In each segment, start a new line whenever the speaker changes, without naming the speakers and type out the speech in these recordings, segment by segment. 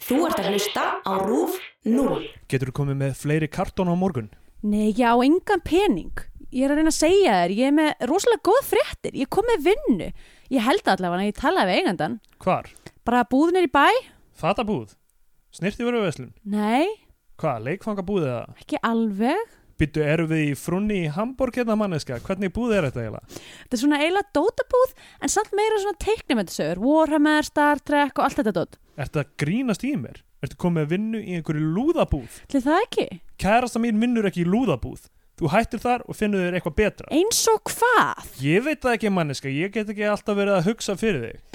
Þú ert að hlusta á RÚF 0.
Getur þú komið með fleiri kartón á morgun?
Nei, já, engan pening. Ég er að reyna að segja þér, ég er með rosalega góð fréttir, ég kom með vinnu. Ég held allavega að ég talaði við eigandan.
Hvar?
Bara búðin er í bæ?
Fatabúð? Snirti veruveslun?
Nei,
Hvað, leikfangabúð eða?
ekki alveg.
Byttu, erum við í frunni í Hamburg hérna manneska? Hvernig búð er þetta eiginlega?
Þetta er svona eiginlega dótabúð, en samt meira svona teiknumöndisögur. Warhammer, Star Trek og allt þetta dót.
Ertu að grínast í mér? Ertu komið með vinnu í einhverju lúðabúð?
Til það ekki?
Kærasta mín vinnur ekki í lúðabúð. Þú hættir þar og finnur þér eitthvað betra.
Eins og hvað?
Ég veit það ekki manneska, ég get ekki alltaf verið að hugsa fyrir þig.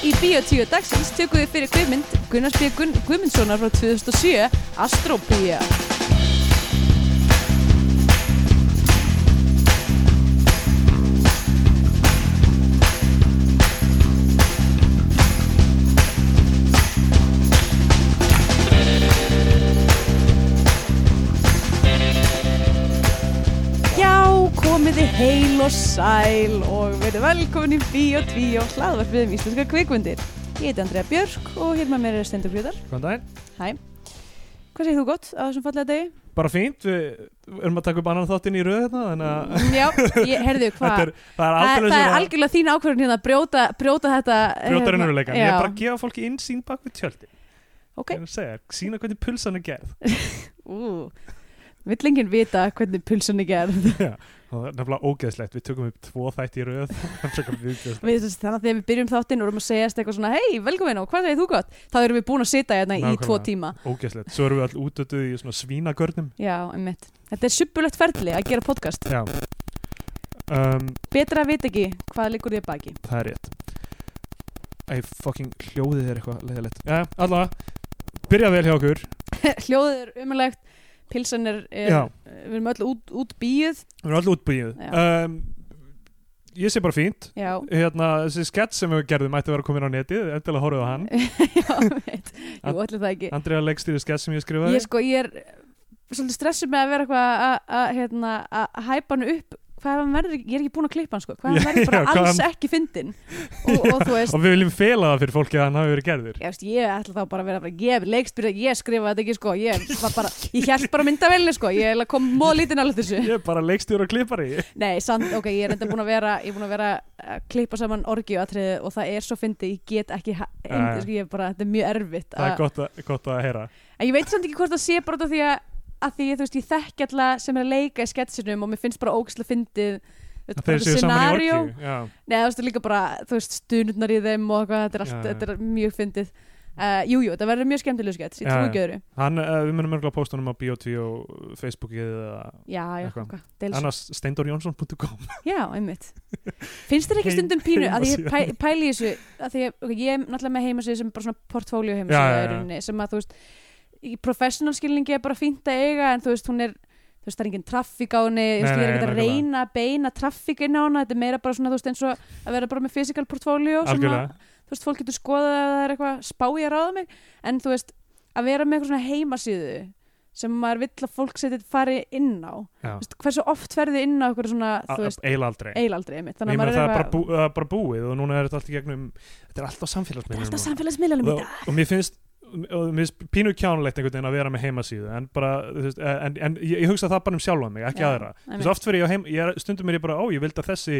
Í Bíotíu dagsins tökum við fyrir Guðmynd Gunnars B. Gunn, Guðmundssonar frá 2007, Astrobía. Já, komiði heil og sæl og verið velkomin í Bíó 2 og hlaðvarpið um íslenska kvikmyndir. Ég heiti Andrea Björk og hér með mér er Stendur Björðar.
Góðan daginn.
Hæ. Hvað segir þú gott á þessum fallega degi?
Bara fínt, við erum að taka upp annan þáttinn í röð hérna, þannig að
Já, ég, herðu,
þetta
hvað?
er, það er
Það,
aldrei
það er algjörlega þín ákvörðun hérna að brjóta, brjóta þetta.
brjóta
hérna,
raunveruleikan,
Já,
ég er bara að gefa fólki innsýn bak við tjöldi
ok.
ég er að segja, sína hvernig pulsan er gerð
Ú, vill enginn vita hvernig pulsunni gerð.
og það er nefnilega ógeðslegt, við tökum upp tvo þætti í röð Það er frekar viðbjóðslegt.
Við, þess- þannig að þegar við byrjum þáttinn og erum að segjast eitthvað svona, hei, velkomin og hvað segir þú gott? Þá erum við búin að sita hérna í
Nákvæmlega.
tvo tíma.
ógeðslegt, svo erum við all útötuð í svona svínagörnum
Já, einmitt. Þetta er subbulegt ferli að gera podcast.
já um,
Betra að vita ekki hvað liggur þér baki.
það er rétt Æ, fucking hljóðið er eitthvað leiðilegt já, allavega, byrja vel hjá okkur
Hljóðið er umulegt, pilsan er, er
Já.
við erum öll út, út bíuð.
við erum all útbúið um, ég sé bara fínt
Já,
hérna, þessi skett sem við gerðum ætti að vera komin á netið, endilega horfið á hann
já, veit. Jú,
Að-
allir það ekki.
Andrea leggstýri skett sem ég skrifaði
Ég sko, ég er svolítið stressuð með að vera eitthvað að- að hérna, að hæpa hann upp. Hvað ef hann verður, ekki- ég er ekki búin að klippa hann sko, hvað ef hann
Já,
verður bara
já, hvað
alls
hann-
ekki fyndin. Og, og þú veist,
og við viljum fela það fyrir fólki að hann hafi verið gerður
ég, veist, ég ætla þá bara að vera bara, ég er leikstyrja, ég skrifa þetta ekki sko, ég var bara, ég held bara myndavelni sko, ég eiginlega kom móðlítinn alveg þessu.
ég er bara leikstjóri og klippari
Nei, samt, ok, ég er enda búin að vera ég er búin að vera að klippa saman orgiðatriði og það er svo fyndið, ég get ekki ha- inn,
Já, já.
sko, ég er bara, þetta er mjög erfitt
það er
að,
gott að, gott að heyra
en ég veit samt ekki hvort það sé bara út af því að, að því, þú veist, ég þekki alla sem er að leika í sketsinum og mér finnst bara ógislega fyndið þú veist,
að þeir
bara
séu saman í
scenario.
orkju já.
Nei, þú veist, líka bara, þú veist, stunurnar í þeim og eitthvað, þetta er allt,
Já, já.
þetta er mjög fyndið Uh, jú, jú, þetta verður mjög skemmtileg skets, ég
Já,
trúi
já.
ekki öðru
hann, uh, við munum örgulega pósta hann á Biotví og Facebookið eða
Já, já,
Eitthvað.
hvað, deils
annars steindorjónsson.com
Já, einmitt. Finnst þér ekki
Heim-
stundum pínu að ég
heimasíða.
pæ, pæli í þessu að því að okay, ég er náttúrulega með heimasíðu sem bara svona portfóljó
Já, já, já.
heimasíðu sem að þú veist í professional skilningi er bara fínt að eiga en þú veist hún er þú veist það er engin traffík á henni þú veist,
Nei, nei,
ég er ekki að
nákvæmlega.
reyna að beina traffík inn á hana þetta er meira bara svona þú veist eins og að vera bara með physical portfóljó sem að
algjörlega
þú veist fólk getur skoðað að það er eitthvað spá ég að ráða mig en þú veist að vera með eitthvað svona heimasíðu sem maður vill að fólk setja fari inn á þú
já.
veist, hversu oft ferði inn á eitthvað svona
A-
þú veist
a- eiginlega aldrei
eilaldri einmitt
Ég
þannig
meina,
að maður
það
er
er bara,
eitthvað
bú, það er bara búið og núna er þetta allt í gegnum þetta er alltaf samfélagsmiðlum
alltaf samfélagsmiðlunum í
og,
dag
og mér finnst og mér finnst pínu kjánulegt einhvern veginn að vera með heimasíðu en bara, þú veist, eh, en, en ég, ég hugsa það bara um sjálfa mig, ekki
Já,
aðra þú veist, oft fyrir ég á heim, ég er, stundum er ég bara, ó, ég vildi að þessi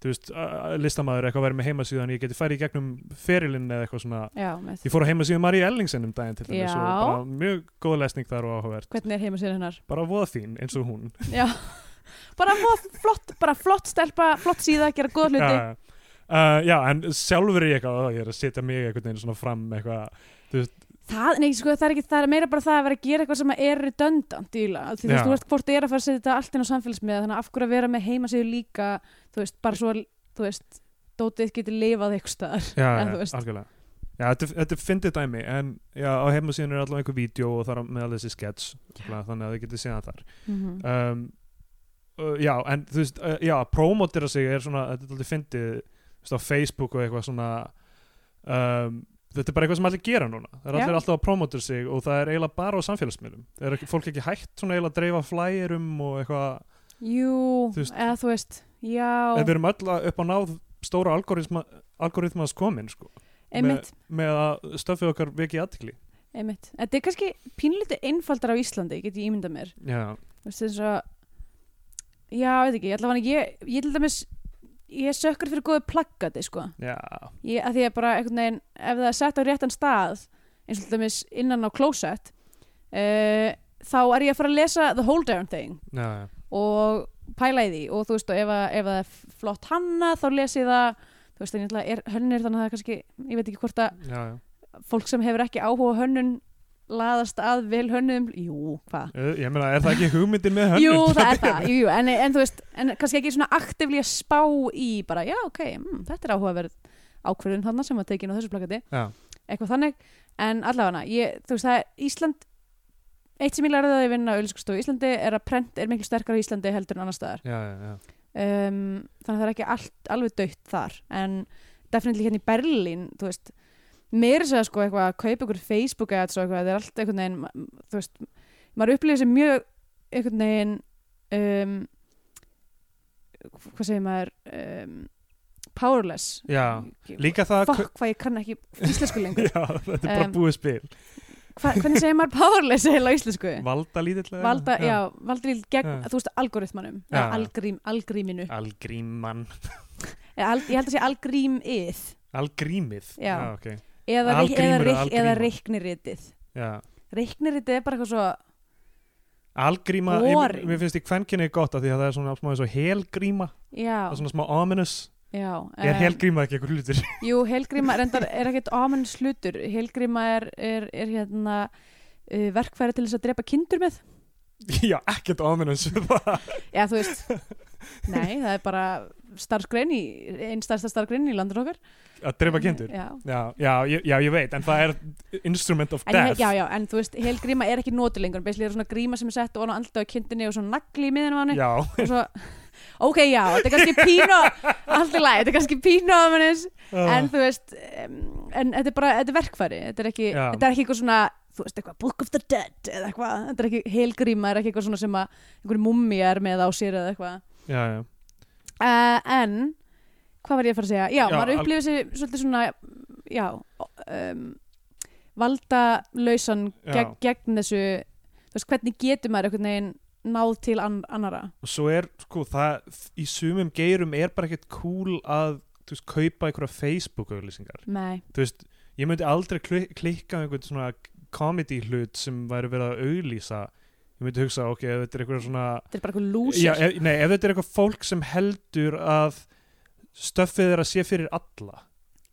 þú veist, a- a- listamaður eitthvað væri með heimasíðu en ég geti færi í gegnum ferilinn eða eitthvað svona,
já, með.
ég fór á heimasíðu Maríu Ellingsen um daginn til
Já.
dæmis og bara mjög góð lesning þar og áhugavert,
hvernig er heimasíðan hennar
bara voða þín eins og hún
já bara mjög flott bara flott stelpa flott síða gera góð hluti
já, uh, já, en sjálfur er ég eitthvað, ó, ég er að setja mig einhvern veginn svona fram eitthvað,
það, nei, sko, það, er ekki, það er meira bara það að vera að gera eitthvað sem er redundant í lag því þú
Já.
veist þú veist hvort er að fara að setja þetta allt inn á samfélagsmiða þannig að af hverju að vera með heimasíðu líka þú veist bara svo að, þú veist dótið getur lifað eitthvað staðar
já,
En
já,
þú veist.
algjörlega Já, þetta, þetta er fyndið dæmi, en já, á heimasíðan er allavega einhver vídeo og það er með alveg þessi skets, þannig að þið getið séð það þar.
Mhm.
um, uh, já, en þú veist uh, já, að promotera sig er svona þetta er alltaf fyndið, þú veist, á Facebook og eitthvað svona um, þetta er bara eitthvað sem allir gera núna það er
Já.
allir alltaf að promotera sig og það er eiginlega bara á samfélagsmiðlum, er ekki, fólk ekki hægt svona eiginlega að dreifa flyerum og eitthvað
jú
Þú veist-
eða þú veist já
en við erum öll að- upp á náð stóra algoritma, algoritmas komin sko.
einmitt,
með að stöfið okkar veki aðtikli
einmitt. Þetta er kannski pínlítið einfaldar á Íslandi, get ég ímyndað mér.
já,
Þú veist þess að, já, veit ekki, allavega ég, ég til dæmis, ég er sökkur fyrir góðu plaggati, sko.
já,
Ég, að því að bara einhvern veginn, ef það er sett á réttan stað, eins og til dæmis innan á klósett, uh, þá er ég að fara að lesa the whole darn thing.
já, já.
og pæla í því og þú veist og ef, að, ef að það er flott hanna þá les ég það þú veist en ég ætla- er hönnir þannig að það er kannski ég veit ekki hvort að
já, já.
fólk sem hefur ekki áhuga á hönnun laðast að vel hönnum jú, hvað?
Ö, ég meina, er það ekki hugmyndin með hönnun?
Jú, það er það, jú, jú, en, en þú veist en kannski ekki svona aktivli að spá í bara, já, ok, mm, þetta er áhugaverð ákvörðun þarna sem var tekin á þessu plakati
já,
eitthvað þannig, en allavega ég, þú veist það er Ísland eitt sem ég lærði að ég vinna á Ölskostofu í Íslandi er að prent er miklu sterkar á Íslandi heldur en annars staðar
já, já, já.
um, þannig að það er ekki allt alveg dött þar en definitely hérna í Berlín þú veist, meira segja sko eitthvað að kaupa ykkur Facebook ads og eitthvað það er allt einhvern veginn, ma- þú veist maður upplýðir sem mjög einhvern veginn um, hvað segir maður um, powerless
Já, líka það að
fokk hvað ég kann ekki íslensku lengur
Já, þetta er bara
Um,
búið spil
Hva, hvernig segir maður powerless heila á íslensku
Valda lítillega
valda, já, valda líkt gegn
Já.
þú veist algoritmanum,
Já.
eða algrím, algríminu
Algríman
Eða al, ég held að segja algrímið
Algrímið
Já.
ok
eða, reik, eða,
Algrímur eða
reik, eða
algríma.
reikniritið
já.
reikniritið er bara eitthvað svo
Algríma, ég,
Boring.
mér finnst í kvenkinni gott af því að það er svona smá eins og helgríma það
já,
er svona smá ominous
já
Er
em,
helgríma ekki eitthvað hlutir?
jú, helgríma reyndar er ekkert ámenn slutur helgríma er, er, er hérna uh, verkfæri til þess að drepa kindur með
já, ekkert ominous bara-
já, þú veist nei, það er bara starfsgrein í einn starfsta starfgrein í landur okkar
Að dreifa kindur
já,
Já, já, ég- já, ég veit, en það er instrument of
En, he-
death
já, já, en þú veist, helgríma er ekki notu lengur Basically er svona gríma sem er sett og hann andla á kindinni og svona nagli í miðinu á henni
já,
og svo, ok, já, þetta er kannski pínu allt í lagi, þetta er kannski pínu á hennis en þú veist um, en þetta er bara, þetta er verkfæri þetta er ekki,
Já.
þetta er ekki eitthvað svona þú veist eitthvað, Book of the Dead eða eitthvað þetta er ekki helgríma, er ekki eitthvað svona sem að einhverjum mummi er með á sér eða eitthvað
já, já.
uh, en, hvað var ég að fara að segja já,
Já,
maður
al-
upplifir sér svolítið svona já um, valda lausan
Já.
gegn, gegn þessu þú veist, hvernig getur maður einhvern veginn náð til ann, annara
og svo er sko það í sumum geirum er bara ekkert cool að þú veist, kaupa einhverja Facebook auglýsingar
nei,
þú veist, ég myndi aldrei kli klikka á einhvern svona comedy hlut sem væri verið að auglýsa ég myndi hugsa, ok, ef þetta er eitthvað svona
þetta er bara eitthvað lúsir
já, ef, nei, ef þetta er eitthvað fólk sem heldur að stöffið er að sé fyrir alla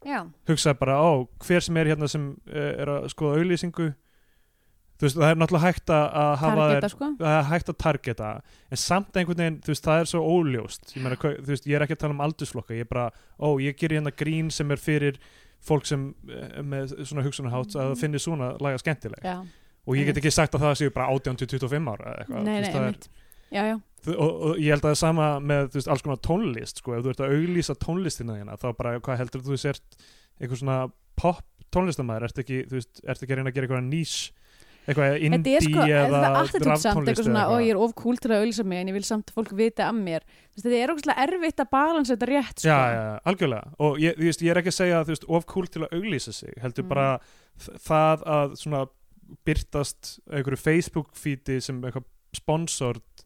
já,
hugsaði bara á hver sem er hérna sem eh, er að skoða auglýsingu þú veist, það er náttúrulega hægt að að hafa þær-
targeta sko
það er hægt að targeta en samt einhvern veginn, þú veist, það er svo óljóst ég, meina, hva- þú veist, ég er ekki að tala um aldursflokka ég er bara, ó, ég gerir hérna grín sem er fyrir fólk sem eh, með svona hugsunarhátt að það finnir svona laga skemmtileg
Mhm. já,
og ég get ekki sagt að það séu bara 18 til 25 ára eða eitthvað,
nei,
þú
nei,
veist, það er,
einmitt já, já,
þú- og, og ég held að það er sama með þú veist, alls konar tónlist, sko, ef þú ert að auglýsa tónlistina þína, þá bara, hvað heldur þú sért eitthvað svona pop tónlistamæður ert ekki, þú veist, ert ekki að reyna að gera eitthvað nýs eitthvað
þetta
indie
er sko,
eða
þetta attitút samt
raftónlist eða
eitthvað svona, ó ég er of cool til að auðlýsa mig en ég vil samt að fólk vita af mér Þú veist, þetta er ógustlega erfitt að balansa þetta rétt sko.
já, já, já, algjörlega og ég, ég, veist, ég er ekki að segja þú veist, of cool til að auglýsa sig heldur
Mm.
bara þ- það að svona byrtast einhverju Facebook feedi sem eitthvað sponsort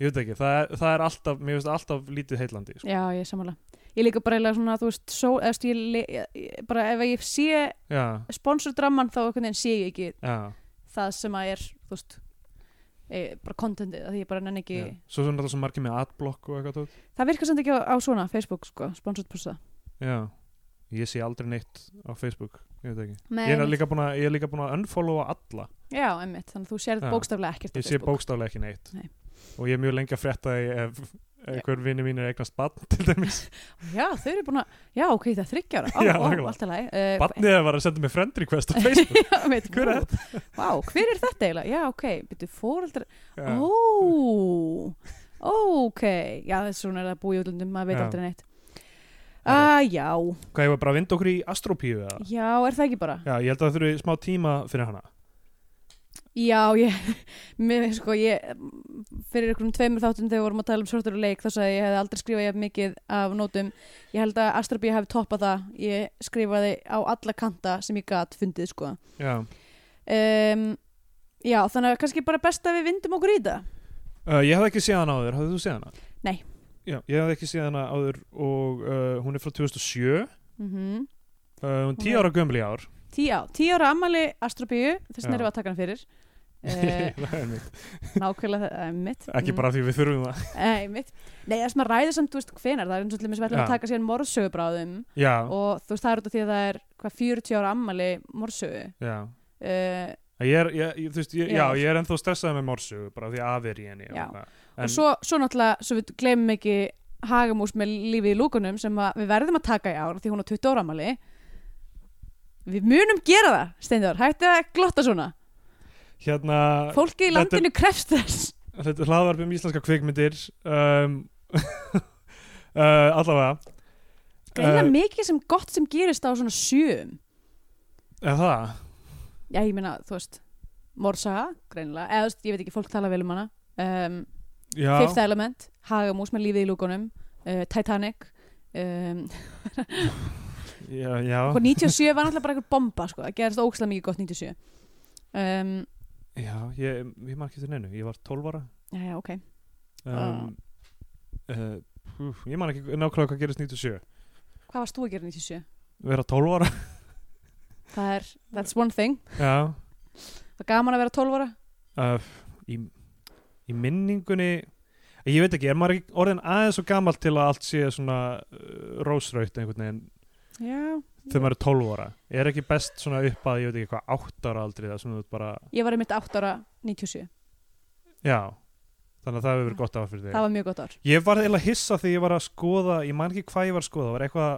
ég veit ekki, það er, það er alltaf mér finnst það alltaf lítið heillandi sko.
já, ég er samanlega ég líka bara eiginlega svona, þú veist, svo, eða, þú veist ég, le- ég, ég- bara ef ég sé
já,
sponsordramman þá einhvern veginn sé ég ekki
já,
það sem að er, þú veist e, bara contentið, að því ég bara nenni ekki
já svo svona alltaf svo margir með adblock og eitthvað tótt.
það virkar samt ekki á, á svona Facebook, sko, sponsort posta
já, ég sé aldrei neitt á Facebook, ég veit ekki
Nei,
ég er,
einmitt.
líka búin að, ég er líka búin að unfollowa alla
já, emmitt, þannig að þú sérð
Já.
bókstaflega ekkert á
ég sé
Facebook.
bókstaflega ekki neitt
Nei.
og ég er mjög lengi að frétta því ef einhver vini mín er eignast badn til dæmis
Já, þau eru búin að, já, ok, það er þryggja ára, ó,
Já,
ó,
nákvæmlega.
allt í lagi. Uh,
Barnið var að senda mér friend request á Facebook
já, veit,
Hver er
þetta? Vá, hver er þetta eiginlega? Já, ok, byrju fóreldrar,
Já.
ó, ok, já, það er svona er það að búa í útlöndum, maður veit
Já.
aldrei neitt.
Já.
Ah, já,
Hvað ég var bara að vinda okkur í astropíu eða?
já, er það ekki bara?
Já, ég held að það þurfi smá tíma fyrir hana
Já, ég, mér, sko, ég, fyrir einhverjum tveimur þáttum þegar við vorum að tala um sortur og leik þá sagði ég ég hefði aldrei skrifað ég mikið af nótum. Ég held að Astra B hafi toppað það. Ég skrifaði á alla kanta sem ég gat fundið, sko.
já.
Um, já, þannig að kannski bara best að við vindum okkur í það.
Uh, ég hafði ekki séð hana áður, hafði þú séð hana?
Nei.
Já, ég hafði ekki séð hana áður og uh, hún er frá 2007 uh,
Mm -hmm.
hún er 10
Ok.
ára gömul í ár
Tí, já, tíu ára ammali Astra B, þess
Já.
vegna erum við að taka hann fyrir. Uh,
Það er mitt.
nákvæmlega það, uh, mitt.
ekki bara því við þurfum það
Nei, mitt. Eh, Nei, það er sem að ræða samt, þú veist, hvenar. Það er eins og til þess að við ætlum að
Já.
taka sér morðsögubráðum.
já,
og þú veist það er út af því að það er hvað 40 ára ammali morsögu
já
uh,
Ég er, ég, ég, þú veist, ég, já,
Já.
ég er ennþá stressað með morsu bara því aðver í henni og
Já.
það.
og svo, svo náttúrulega, svo við glemum ekki hagamús með lífið í lúkunum sem að við verðum að taka í ár því hún á 20 ára ammali við munum gera það, Steindor, hætti að glotta svona
hérna, þetta
fólki í
er-
landinu krefst þess
þetta er hlaðvarp um íslenska kvikmyndir um, uh, allavega
greina
Eh,
mikið sem gott sem gerist á svona sjöum
er það?
já, ég meina, þú veist morsaga, greinlega, eða þú veist, ég veit ekki fólk tala vel um hana um,
Já,
Fifth Element, Hagamús með lífið í lúkunum uh, Titanic um,
já, já,
Hvað 97 var náttúrulega bara einhver bomba sko. það gerist ógslag mikið gott 97 um,
já ég, ég marg ekki til neinu, ég var 12 ára
já, já, ok
um, uh, pú, ég man ekki nákvæmlega hvað gerist 97
hvað varst þú að gera 97?
vera 12 ára
það er, that's one thing
já,
það er gaman að vera 12 ára
uh, í, í minningunni eh, ég veit ekki, er maður ekki orðin aðeins svo gammal til að allt sé svona uh, rósraut einhvern veginn
já.
þegar maður er 12 ára er ekki best svona upp að, ég veit ekki hvað 8 ára aldrei það sem þú ert bara,
ég var einmitt 8 ára 97
já þannig að það hefur verið gott af fyrir þig
það var mjög gott ár
Ég var eiginlega hissa þegar ég var að skoða ég man ekki hvað ég var að skoða, það var eitthvað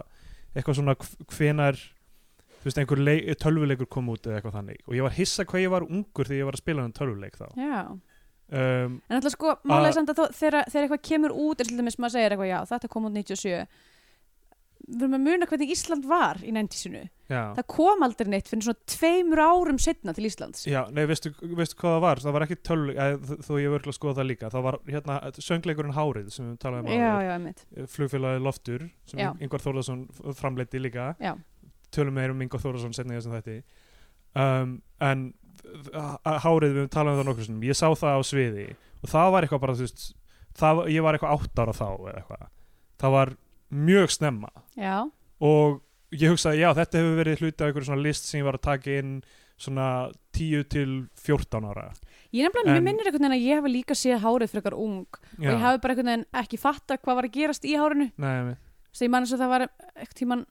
eitthvað svona hvenar þú veist, einhver leik, tölvuleikur kom út eða eitthvað þannig og ég var hissa hvað ég var ungur þegar ég var að spila hann tölvuleik þá
já.
um,
en alltaf sko, málega
Ah.
samt að þó- þegar þegar eitthvað kemur út er svolítið með sem maður segir eitthvað já, þetta kom út 97 við erum að muna hvernig Ísland var í 90-sinu
já.
það kom aldrei neitt fyrir svona tveimur árum setna til Íslands
já, nei, veistu, veistu hvað það var það var ekki tölvuleik, þó ég var örugglega að skoða það líka það var hérna, söngleikurinn Hárið sem við talaðum
já, já, einmitt
um flugfélagi Loftur sem
Já.
Ingvar Þórðarsson framleiti líka
já,
tölum meir um Ingo Þórðarsson setna í þessum þætti um, en uh, hárið við höfum talað um það nokkur sinnum ég sá það á sviði og það var eitthvað bara þú veist það, var- ég var eitthvað átt ára þá eða eitthvað það var mjög snemma
já,
og ég hugsaði já þetta hefur verið hluti af einhverju svona list sem ég var að taka inn svona 10 til 14 ára
Ég nefnilega, mér
En-
minnir einhvern veginn að ég hef líka séð hárið frekar ung og
já,
ég hafi bara einhvern veginn ekki fatta hvað var að gerast í hárinu
nei, nei,
þess að ég man eins og það var ekkert tíman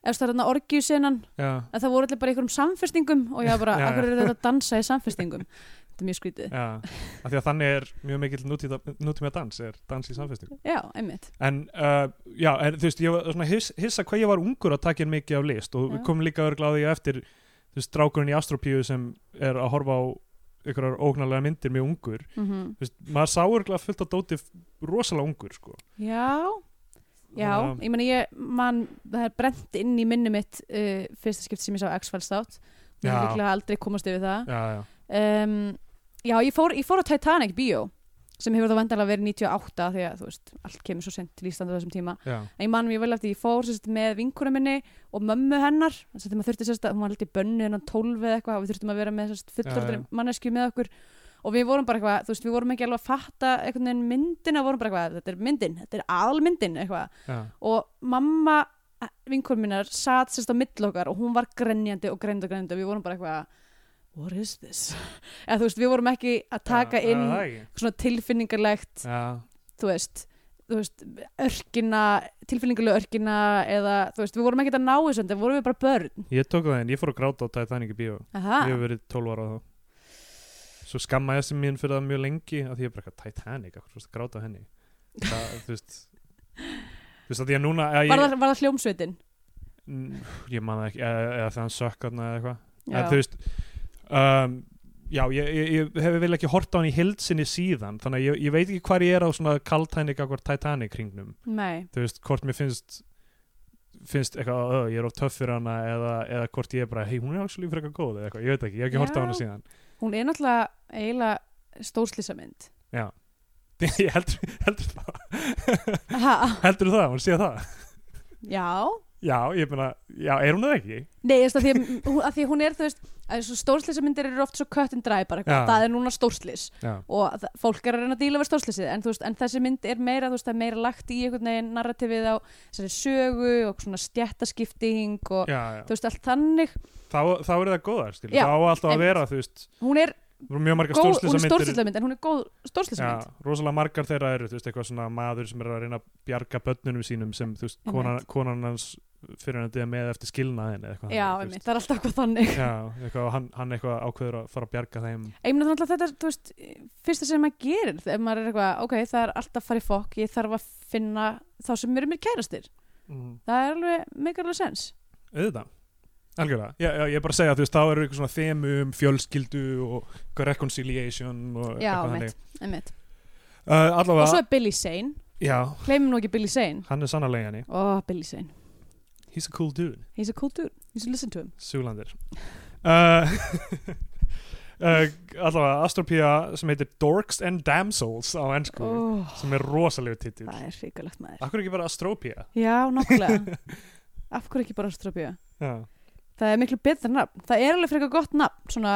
ef það er þarna orgiðsennan
já,
að það voru allir bara í einhverjum samfestingum og ég var bara,
Já, já.
akkur er þetta að dansa í samfestingum þetta er mjög skrítið,
já. Af því að þannig er mjög mikill nútíða- nútíma dans er dans í samfestingu
já, einmitt
en uh, já, en, þú veist, ég var svona hiss, hissa hvað ég var ungur að taka inn mikið af list og við
Já.
komum líka örgla á því á eftir þú veist, drákurinn í Astropíu sem er að horfa á einhverjar ógnarlega myndir mjög ungur,
mm
þú veist, maður sá örgla fullt á dóti f- rosalega ungur, sko
já, já,
Þannig að-
ég man ég man, það er brent inn í minni mitt uh, fyrsta skipt sem ég sá X-Files þátt
Já.
ég hef líklega aldrei komast yfir það
já, já,
um, Já, ég fór, ég fór á Titanic bíó sem hefur þá vendarlega verið 98 því að þú veist, allt kemur svo sent til Íslanda á þessum tíma
já,
en ég man mjög vel eftir, ég fór sérst, með vinkunum minni og mömmu hennar þess að maður þurfti sérst að hún var alltaf í bönnu hennan 12 eða eitthvað og við þurftum að vera með sérst fullorðin
Já, já.
mannesku með okkur og við vorum bara eitthvað, þú veist, við vorum ekki alveg að fatta einhvern veginn myndina, vorum bara eitthvað þetta er myndin, þetta er aðalmyndin eitthvað
já,
og mamma vinkunum minnar satt sérst á mill okkar og hún var grenjandi og greind og greind og við vorum bara eitthvað what is this? eða þú veist, við vorum ekki að taka
já,
inn
já, það ekki.
svona tilfinningarlegt
já,
þú veist, þú veist örkina, tilfinningulega örkina eða þú veist, við vorum ekkert að ná þessu en það vorum við bara börn
ég tók það inn, ég fór að gráta á Titanic í bíó
Aha.
ég hef verið 12 ára þá svo skamma ég sem mín fyrir það mjög lengi að því ég er bara eitthvað Titanic, akkur fórst að gráta á henni það, þú veist þú veist að því að núna að ég,
var, það, var það hljómsveitin?
Mm, ég man það ekki, eða, eða þegar hann sökkarna eða eitthvað en
Já.
þú veist um, já, ég, ég, ég hef vel ekki hort á hann í hildsinni síðan þannig að ég, ég veit ekki hvar ég er á svona kaltænik akkur Titanic kringnum
Nei,
þú veist, hvort mér finnst finnst eitthvað, ö, ég er of töff fyrir hana eða, eða hvort ég er bara, hei, hún er actually frekar góð eða eitthvað, ég veit ekki, ég hef ekki hort á
Já.
hana síðan
hún er náttúrulega eiginlega stórslýsamynd
já ég heldur, heldur það
já,
heldur það, hún sé það
nei,
já, ég meina, já, er hún það ekki
þú veist, af því, að- hún- af því að hún er þú veist, stórslýsamyndir eru oft svo cut and dry bara,
Já.
eitthvað, það er núna stórslýs
já,
og þa- fólk er að reyna að díla við stórslýsið en, þú veist, en þessi mynd er meira, þú veist, það er meira lagt í einhvern veginn narratífið á þessari sögu og svona stjættaskipting og
já, já.
þú veist, allt þannig
Þá, þá er það góðar, skilur,
Já,
þá á alltaf að
einmitt.
vera þú veist,
hún er
það eru mjög margar
góð, hún er
stórslisar
stórslýsamynd en hún er góð
Já,
stórslýsamynd
rosalega margar þeirra eru, þú veist, eitthvað svona maður sem er að reyna að bjarga börnunum sínum sem, þú veist, konan,
Einmitt.
konan hans fyrir hann að dýja með eftir skilnaðin eða eitthvað
já,
þannig, þú
einmitt, það er alltaf hvað þannig
veist. Já, eitthvað, og hann, hann eitthvað ákveður að fara að bjarga þeim
Ég meina þannig að þetta, er, þú veist, fyrsta sem maður gerir, ef maður er eitthvað, ok, það er alltaf að fara í fokk, ég þarf að finna þá sem eru mér kærastir.
mm.
Það er alveg, make alveg sens.
auðvitað, algjörlega já, já, ég er bara að segja, þú veist, þá eru eitthvað svona þemu um fjölskyldu og eitthvað reconciliation og
Já,
eitthvað
einmitt, einmitt.
uh, allavega,
Og svo er Billy Zane,
já,
gleymum nú ekki Billy Zane.
hann er sannarlega henni
Ó, Billy Zane,
he's a cool dude
he's a cool dude, you should listen to him.
Súlandir uh, uh, Allavega Astropía sem heitir Dorks and Damsels á ennsku
Ó,
sem er rosalegu titill
það er hrikalegt maður.
Akkur ekki bara Astropía
Já, nákvæmlega. Af hverju ekki bara Astropia?
Já,
Það er miklu betra nafn. Það er alveg frekar gott nafn, svona,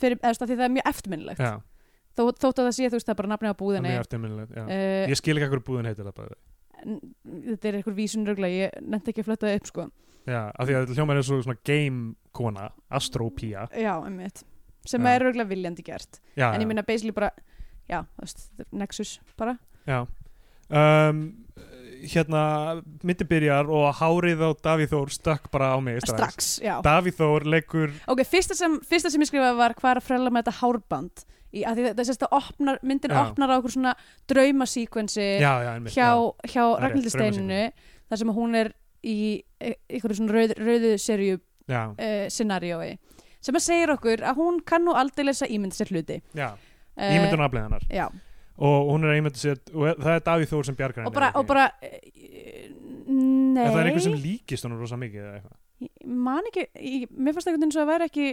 fyrir, eða, þú veist, af því það er mjög eftirminnilegt.
já,
Þó, þótt að það sé, þú veist, það er bara nafnið
það
á
er
búðinni.
mjög eftirminnilegt já.
Uh,
Ég skil ekki akkur búðin heitir það bara
n- þetta er einhver vísunrögla ég nefndi ekki að flötta það upp sko
Já, af því að þetta hljómar er svo svona game kona Astropía
já, einmitt, sem
Já.
er rögla viljandi gert
já,
en
já.
ég minna basically bara já, þú veist, þetta er Nexus bara
Já um, Hérna, myndi byrjar og hárið á Davíð Þór stökk bara á mig strax,
strax, já
Davíð Þór leikur
ok, fyrsta sem, fyrsta sem ég skrifaði var hvað er að frella með þetta hárband í, að því þetta sérst að opnar, myndin
Já.
opnar á okkur svona draumasíkvensi hjá,
Já, já, einmitt
Eh, hjá
já, er rétt,
Ragnhildi Steinunu þar sem hún er í e- einhverju svona rauð, rauðu serju
já,
uh, scenariói sem að segir okkur að hún kann nú aldrei lesa ímynd sér hluti
já.
uh,
Ímyndun afleið hennar
já,
og hún er einmitt að segja og það er Davíð Þór sem bjargar henni
og bara,
eða ekki?
og bara eh, nei
en það er einhver sem líkist honum rosa mikið eða eitthvað.
ég man ekki, ég, mér fannst einhvern veginn svo að það væri ekki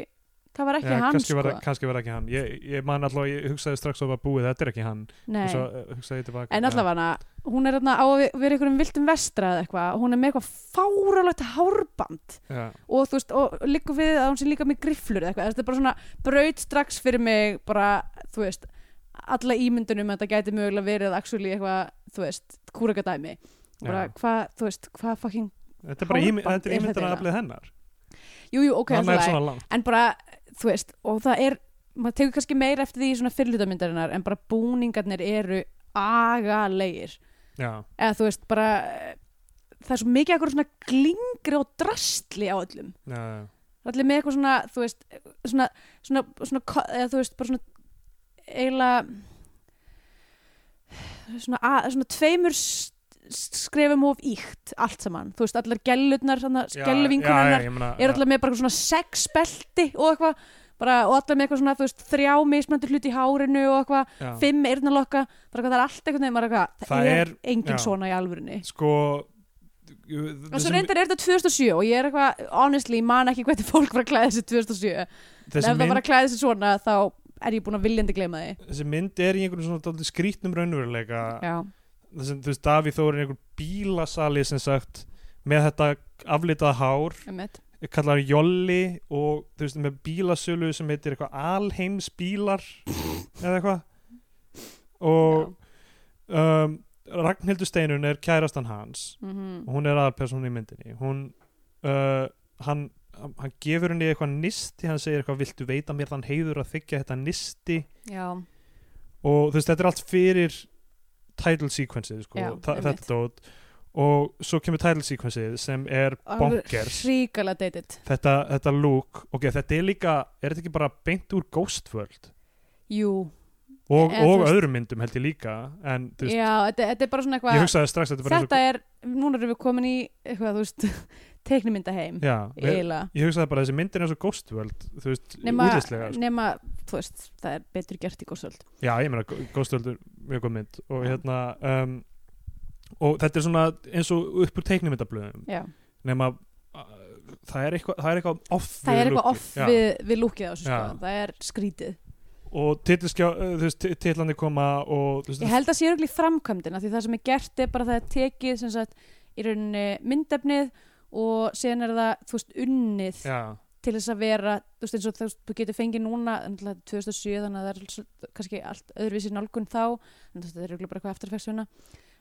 það var ekki
Já,
hann
kannski
sko
var, kannski var ekki hann ég, ég man alltaf, ég hugsaði strax að það var búið þetta er ekki hann
Nei.
og svo eh, hugsaði ég tilbaka
en allavega hún er þarna á að vera einhverjum viltum vestra eða eitthvað, og hún er með eitthvað fáralegt hárband
já,
og þú veist, og liggur við að hún sé líka með grifflur eða eitthvað, þetta er bara svona braut strax fyrir mig, bara, þú veist alla ímyndunum að þetta gæti mögulega verið actually eitthvað, þú veist, kúrakadæmi bara,
Já.
hvað, þú veist, hvað fucking,
þetta er bara ímy-
Hárband
þetta
er
er ímyndun
þetta
afleið hennar
jú, jú, ok,
hann
allt í
er
lagi.
svona langt
en bara, þú veist, og það er maður tekur kannski meira eftir því í svona fyrirlutamyndarinnar en bara búningarnir eru agalegir,
já,
eða þú veist, bara eh, það er svo mikið eitthvað svona glingri og drastli á öllum
já, já.
allir með eitthvað svona, þú veist svona, svona, svona, ko- eða þú veist, bara svona eiginlega svona, að, svona tveimur s- s- skrefum of íkt allt saman, þú veist, allar gellurnar
Já,
gelluvinkunarnar
já, já, ég meina,
er
já.
alltaf með bara eitthvað svona sexbelti og eitthvað bara, og alltaf með eitthvað svona, þú veist, þrjá mismöndu hluti í hárinu og eitthvað,
Já.
fimm eyrnalokka bara eitthvað, það er allt eitthvað nefnir eitthvað, það,
Það
er,
er-
engin
já.
svona í alvörunni
sko
og svo
þessi,
reyndar er þetta 2007 og ég er eitthvað, honestly, man ekki hvernig fólk var að klæða þessi 2007 en ef
þessi,
það var
mynd,
að klæða þessi svona þá er ég búin að viljandi gleyma því
þessi mynd er í einhvern svona dálítið skrítnum raunveruleika
já,
þessi, þú veist, Davíð Þór er einhver bílasali sem sagt með þetta aflitaða hár
einmitt
kallar Jolli og þú veist með bílasölu sem heitir eitthvað Alheims bílar eða eitthvað og um, Ragnhildur Steinun er kærastan hans
Mhm.
og hún er aðalpersónu í myndinni hún, uh, hann, hann hann gefur henni eitthvað nisti hann segir eitthvað viltu veita mér þann heiður að þykja þetta nisti
já,
og þú veist þetta er allt fyrir title sequenceið sko,
Já,
þa-
einmitt.
þetta dót og svo kemur title sequenceið sem er bonkers
ríkala dated
þetta, þetta look ok, þetta er líka, er þetta ekki bara beint úr Ghost World
jú,
og,
Eða, þú
og
veist-
öðrum myndum held ég líka en þú veist,
já, þetta, þetta er bara svona
ég
eitthvað
hugsaði strax að þetta var
þetta er, núna erum við komin í eitthvað, þú veist, teiknimyndaheim
já, ég,
eiginlega
ég hugsaði bara að þessi myndin er svo Ghost World þú veist,
nema,
útlýslega sko.
nema, þú veist, það er betur gert í góðsöld
já, ég meina, Ghost World er mjög góð mynd og
Já.
hérna um, og þetta er svona eins og upp úr teiknumyndablöðum
já.
nema uh, það er eitthvað, það er eitthvað off
það
við
er eitthvað
lookið.
off
Já.
við, við lúkið á þessu sko.
Já.
það er skrítið
og titilskjá, eh, þú veist, ti- titlandi koma og þú veist,
Ég held að sé örugglega í framkvæmdina því það sem er gert er bara það er tekið sem sagt í rauninni myndefnið og síðan er það, þú veist, unnið
já,
til þess að vera, þú veist, eins og þú veist, þú getur fengið núna, náttúrulega 2007 þannig að það er svo- kannski allt öðruvísi nálgun þá, en þú veist, þetta er örugglega bara eitthvað eftirfæksuna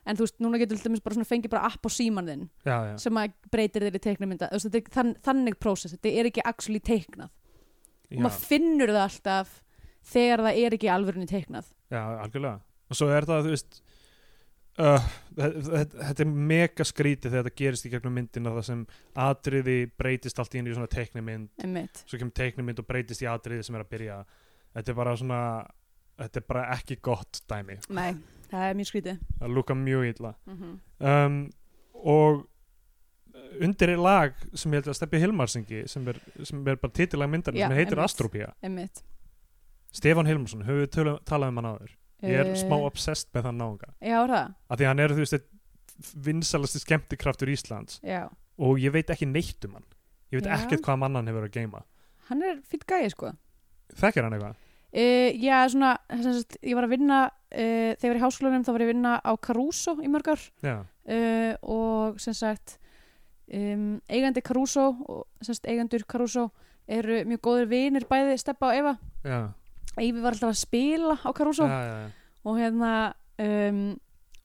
en þú veist, núna getur til dæmis bara svona fengið bara app á síman þinn
já, já,
sem að breytir þeirri teiknumynda þú veist, þetta er þann, þannig prósess, þetta er ekki actually teiknað og
já,
maður finnur það alltaf þegar það er ekki í alvörunni teiknað
já, algjörlega og svo er það, þú veist uh, þe- þe- þetta er mega skrítið þegar þetta gerist í gegnum myndina það sem atriði breytist allt í einu í svona teiknimynd
einmitt,
svo kemur teiknimynd og breytist í atriði sem er að byrja þetta er bara svona þetta er bara ekki gott dæmi
nei, það er mjög skrítið
það lúka mjög illa
mm
um, og undir er lag sem ég held að Steppi Hilmarsingi sem er, sem er bara titillag myndarinn
Já,
sem heitir
einmitt.
Astropía
einmitt
Stefán Hilmarsson, höfum við tölu- talað um hann áður ég er
Eh,
smá obsessed með þann náunga
já, er það,
af því að hann er þú veist einn vinsalasti skemmtikraftur Íslands
já,
og ég veit ekki neitt um hann ég veit
Já.
ekkert hvað mannan hefur að geima
hann er fýtt gæði sko
þekkir hann eitthvað?
Uh, já, svona, sem sagt, ég var að vinna uh, þegar ég var í háskólanum þá var ég að vinna á Caruso í mörg ár
Já,
uh, og sem sagt um, eigandi Caruso og sem sagt eigendur Caruso eru mjög góðir vinir bæði Steppa og Eva
já,
Eyvi var alltaf að spila á Caruso
já, já, já.
og hérna um,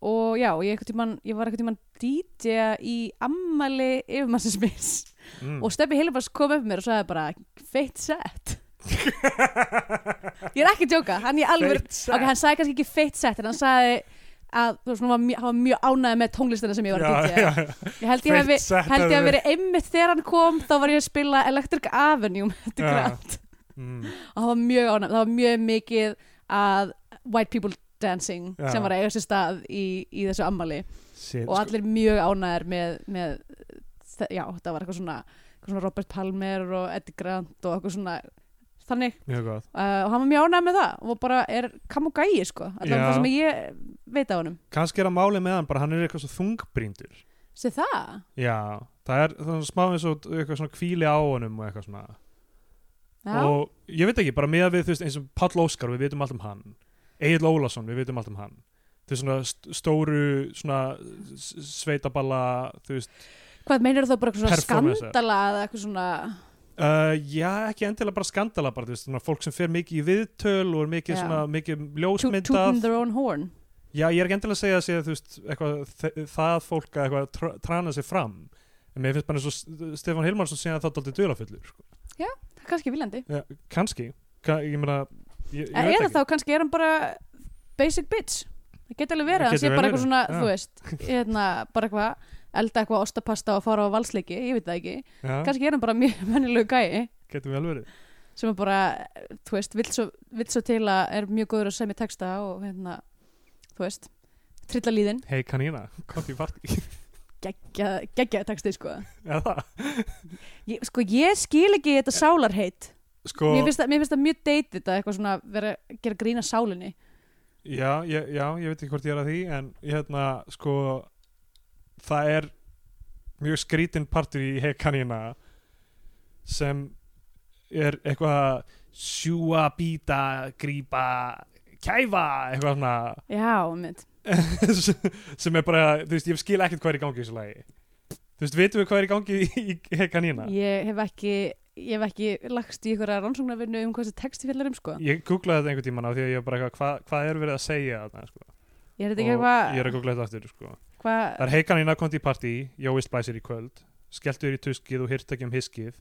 og já, ég, einhvern tímann, ég var einhvern tímann DJ í ammali yfirmannsins minns
Mm.
og Steppi Hilfars kom upp með mér og sagði bara feitt sett ég er ekki að djóka, hann í alveg
Feitt set.
ok, hann sagði kannski ekki feitt sett en hann sagði að þú veist, hann var, mjög- hann var mjög ánægð með tónlistina sem ég var að
Já,
dýtja
já, já.
ég held ég
Feitt
hafi
set
held ég
hefði
hafi verið einmitt þegar hann kom þá var ég að spila Electric Avenue með þetta
Já.
grænt
Mm,
og það var mjög ánægð, það var mjög mikið að white people dancing
Já.
sem var að eiga sér stað í, í þessu ammali
shit,
og allir mjög ánægðir með, með þe- já, það var eitthvað svona, eitthvað svona Robert Palmer og Eddie Grant og eitthvað svona þannig,
sko, mjög gott
uh, og hann var mjög ánægð með það og bara er kam og gæi sko allan
Já.
það sem ég veit af honum
kannski er að máli með hann bara hann er eitthvað svo þungbríndur
sé það?
já, það er þannig smá eins og eitthvað svona kvíli á honum og eitthvað svona
Já,
og ég veit ekki, bara með við þú veist, eins og Páll Óskar, við vitum allt um hann Egil Ólason, við vitum allt um hann þau svona st stóru svona s- sveitaballa þú veist,
hvað meinar það bara eitthvað svona
Performance.
skandala eða eitthvað svona
uh, já ekki endilega bara skandala bara, þú veist, svona fólk sem fer mikið í viðtöl og er mikið
Já.
svona, mikið
to- tooting
ljósmyndað
their own horn
Já, ég er ekki endilega að segja að segja, þú veist, eitthvað, þ- það fólk að eitthvað tr trana sig fram. En mér finnst bara eins og S- Stefán Hilmarsson síðan að það dálítið duðlafullur, sko.
það er kannski viljandi
Kanski, Ka ég meina, ég, ég
en
veit
eða
ekki.
þá kannski er hann bara basic bitch það getur alveg verið,
Það
hann sé
getur
bara
vel verið,
eitthvað svona
já.
þú veist, hérna, bara eitthvað elda eitthvað ostapasta og fara á valsleiki ég veit það ekki,
Já,
kannski er hann bara mjög mennilegu gæi
getur vel verið.
sem er bara, þú veist, vill svo, vill svo til að er mjög góður að semja texta og hérna, þú veist trilla líðin,
Hei kanína, kom því partí.
geggja, geggja texti sko.
er það?
Ég, sko ég skil ekki þetta sálarheit
Sko,
mér, finnst það, mér finnst það mjög deytið að eitthvað svona vera að gera grína sálinni
já, ég, já, ég veit ekki hvort ég er að því, en hérna, sko, það er mjög skrítin partí í hei kanína sem er eitthvað sjúa, býta, grípa, kæfa, eitthvað svona...
já, mynd,
sem er bara, þú veist, ég skil ekkert hvað er í gangi í þessu lagi þú veist, vitum við hvað er í gangi í, í kanína?
ég hef ekki ég hef ekki lagst í einhverja rannsóknarvinnu um hvað þessi texti fjallar um sko
Ég googlaði þetta einhvern tímann á því að ég var bara eitthvað, hvað, hvað er verið að segja þarna, sko?
ég er þetta ekki
Og
eitthvað
ég er að googla þetta aftur, sko.
hva,
Það er heikanina komd í partí, Jói splæsir í kvöld, skelltur í tuskið og hýrt ekki um hiskið,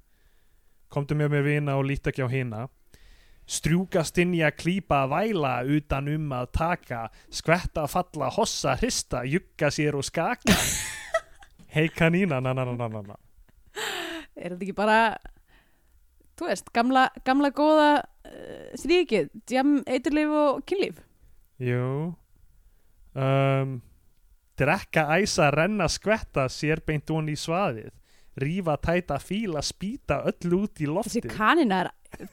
komdu með mér vina og lít ekki á hina, strjúka, stinja, klípa, væla, utan um að taka, skvetta, falla, hossa, hrista, jugga sér og skaka. heikanina, na na na na na na.
er þetta ekki bara þú veist, gamla, gamla góða uh, þrýkið, djam, eiturlif og kynlíf
Jú um, Drekka, æsa, renna, skvetta sér beint ón í svaðið Rífa, tæta, fíla, spýta öll út í
þessi
loftið
kanina er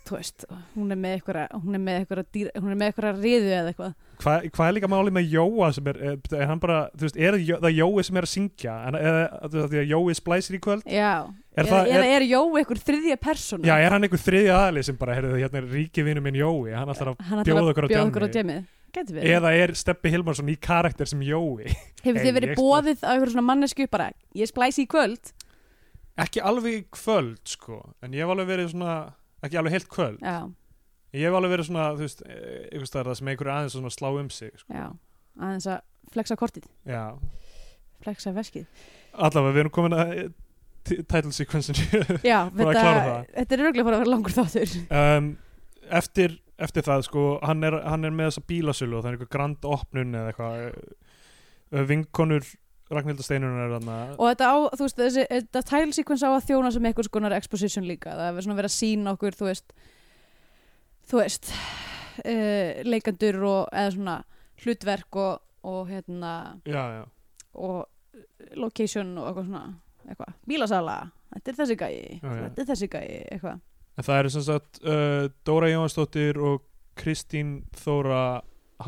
þú veist, hún er með eitthvað hún er með eitthvað, dýr, hún er með eitthvað riðu eða eitthvað
Hva, hvað er líka máli með Jóa sem er, eh, er, er hann bara, þú veist, er Jó- það Jói sem er að syngja en, eða þú veist, því að Jói splæsir í kvöld
Já,
Er
eða,
það-
eða er, Jói eitthvað þriðja persóna
já, er hann einhver þriðja aðli sem bara, heyrðu, hérna er ríkivinu minn Jói hann ætlar að,
hann ætlar
bjóða
að
okkur á
bjóða
djammið.
okkur á djemið Gæti verið.
eða er Steppi Hilmarsson í karakter sem Jói
Hefur
Hey,
þið verið
ég-
bóðið á einhverjum svona mannesku bara, ég splæsi í kvöld
ekki alveg í kvöld, sko en ég hef alveg verið svona, ekki alveg heilt kvöld
Já,
ég hef alveg verið svona, þú veist, e, einhvers staðar það sem einhverju aðeins svona slá um sig, sko
já, aðeins að flexa kortið,
já,
flexa veskið
allavega, við erum komin að eh, t- title sequence
Já,
Búin að
þetta,
klára það.
þetta er röglega fór að vera langur þáttur
um, eftir, eftir það sko, hann er, hann er með þessa bílasölu og það er eitthvað grand opnun eða eitthvað uh, vinkonur Ragnhildur Steinunar er hann
Og þetta á, þú veist, þessi, þetta title sequence á að þjóna sem eitthvað skonar exposition líka Það er svona verið að sína okkur, þú veist Þú veist uh, Leikandur og, eða svona Hlutverk og, og hérna
já, já,
Og location og eitthvað svona Eitthvað, bílasala Þetta er þessi gæi,
Já, já.
þetta er þessi gæi Eitthvað,
en það eru sem sagt uh, Dóra Jónsdóttir og Kristín Þóra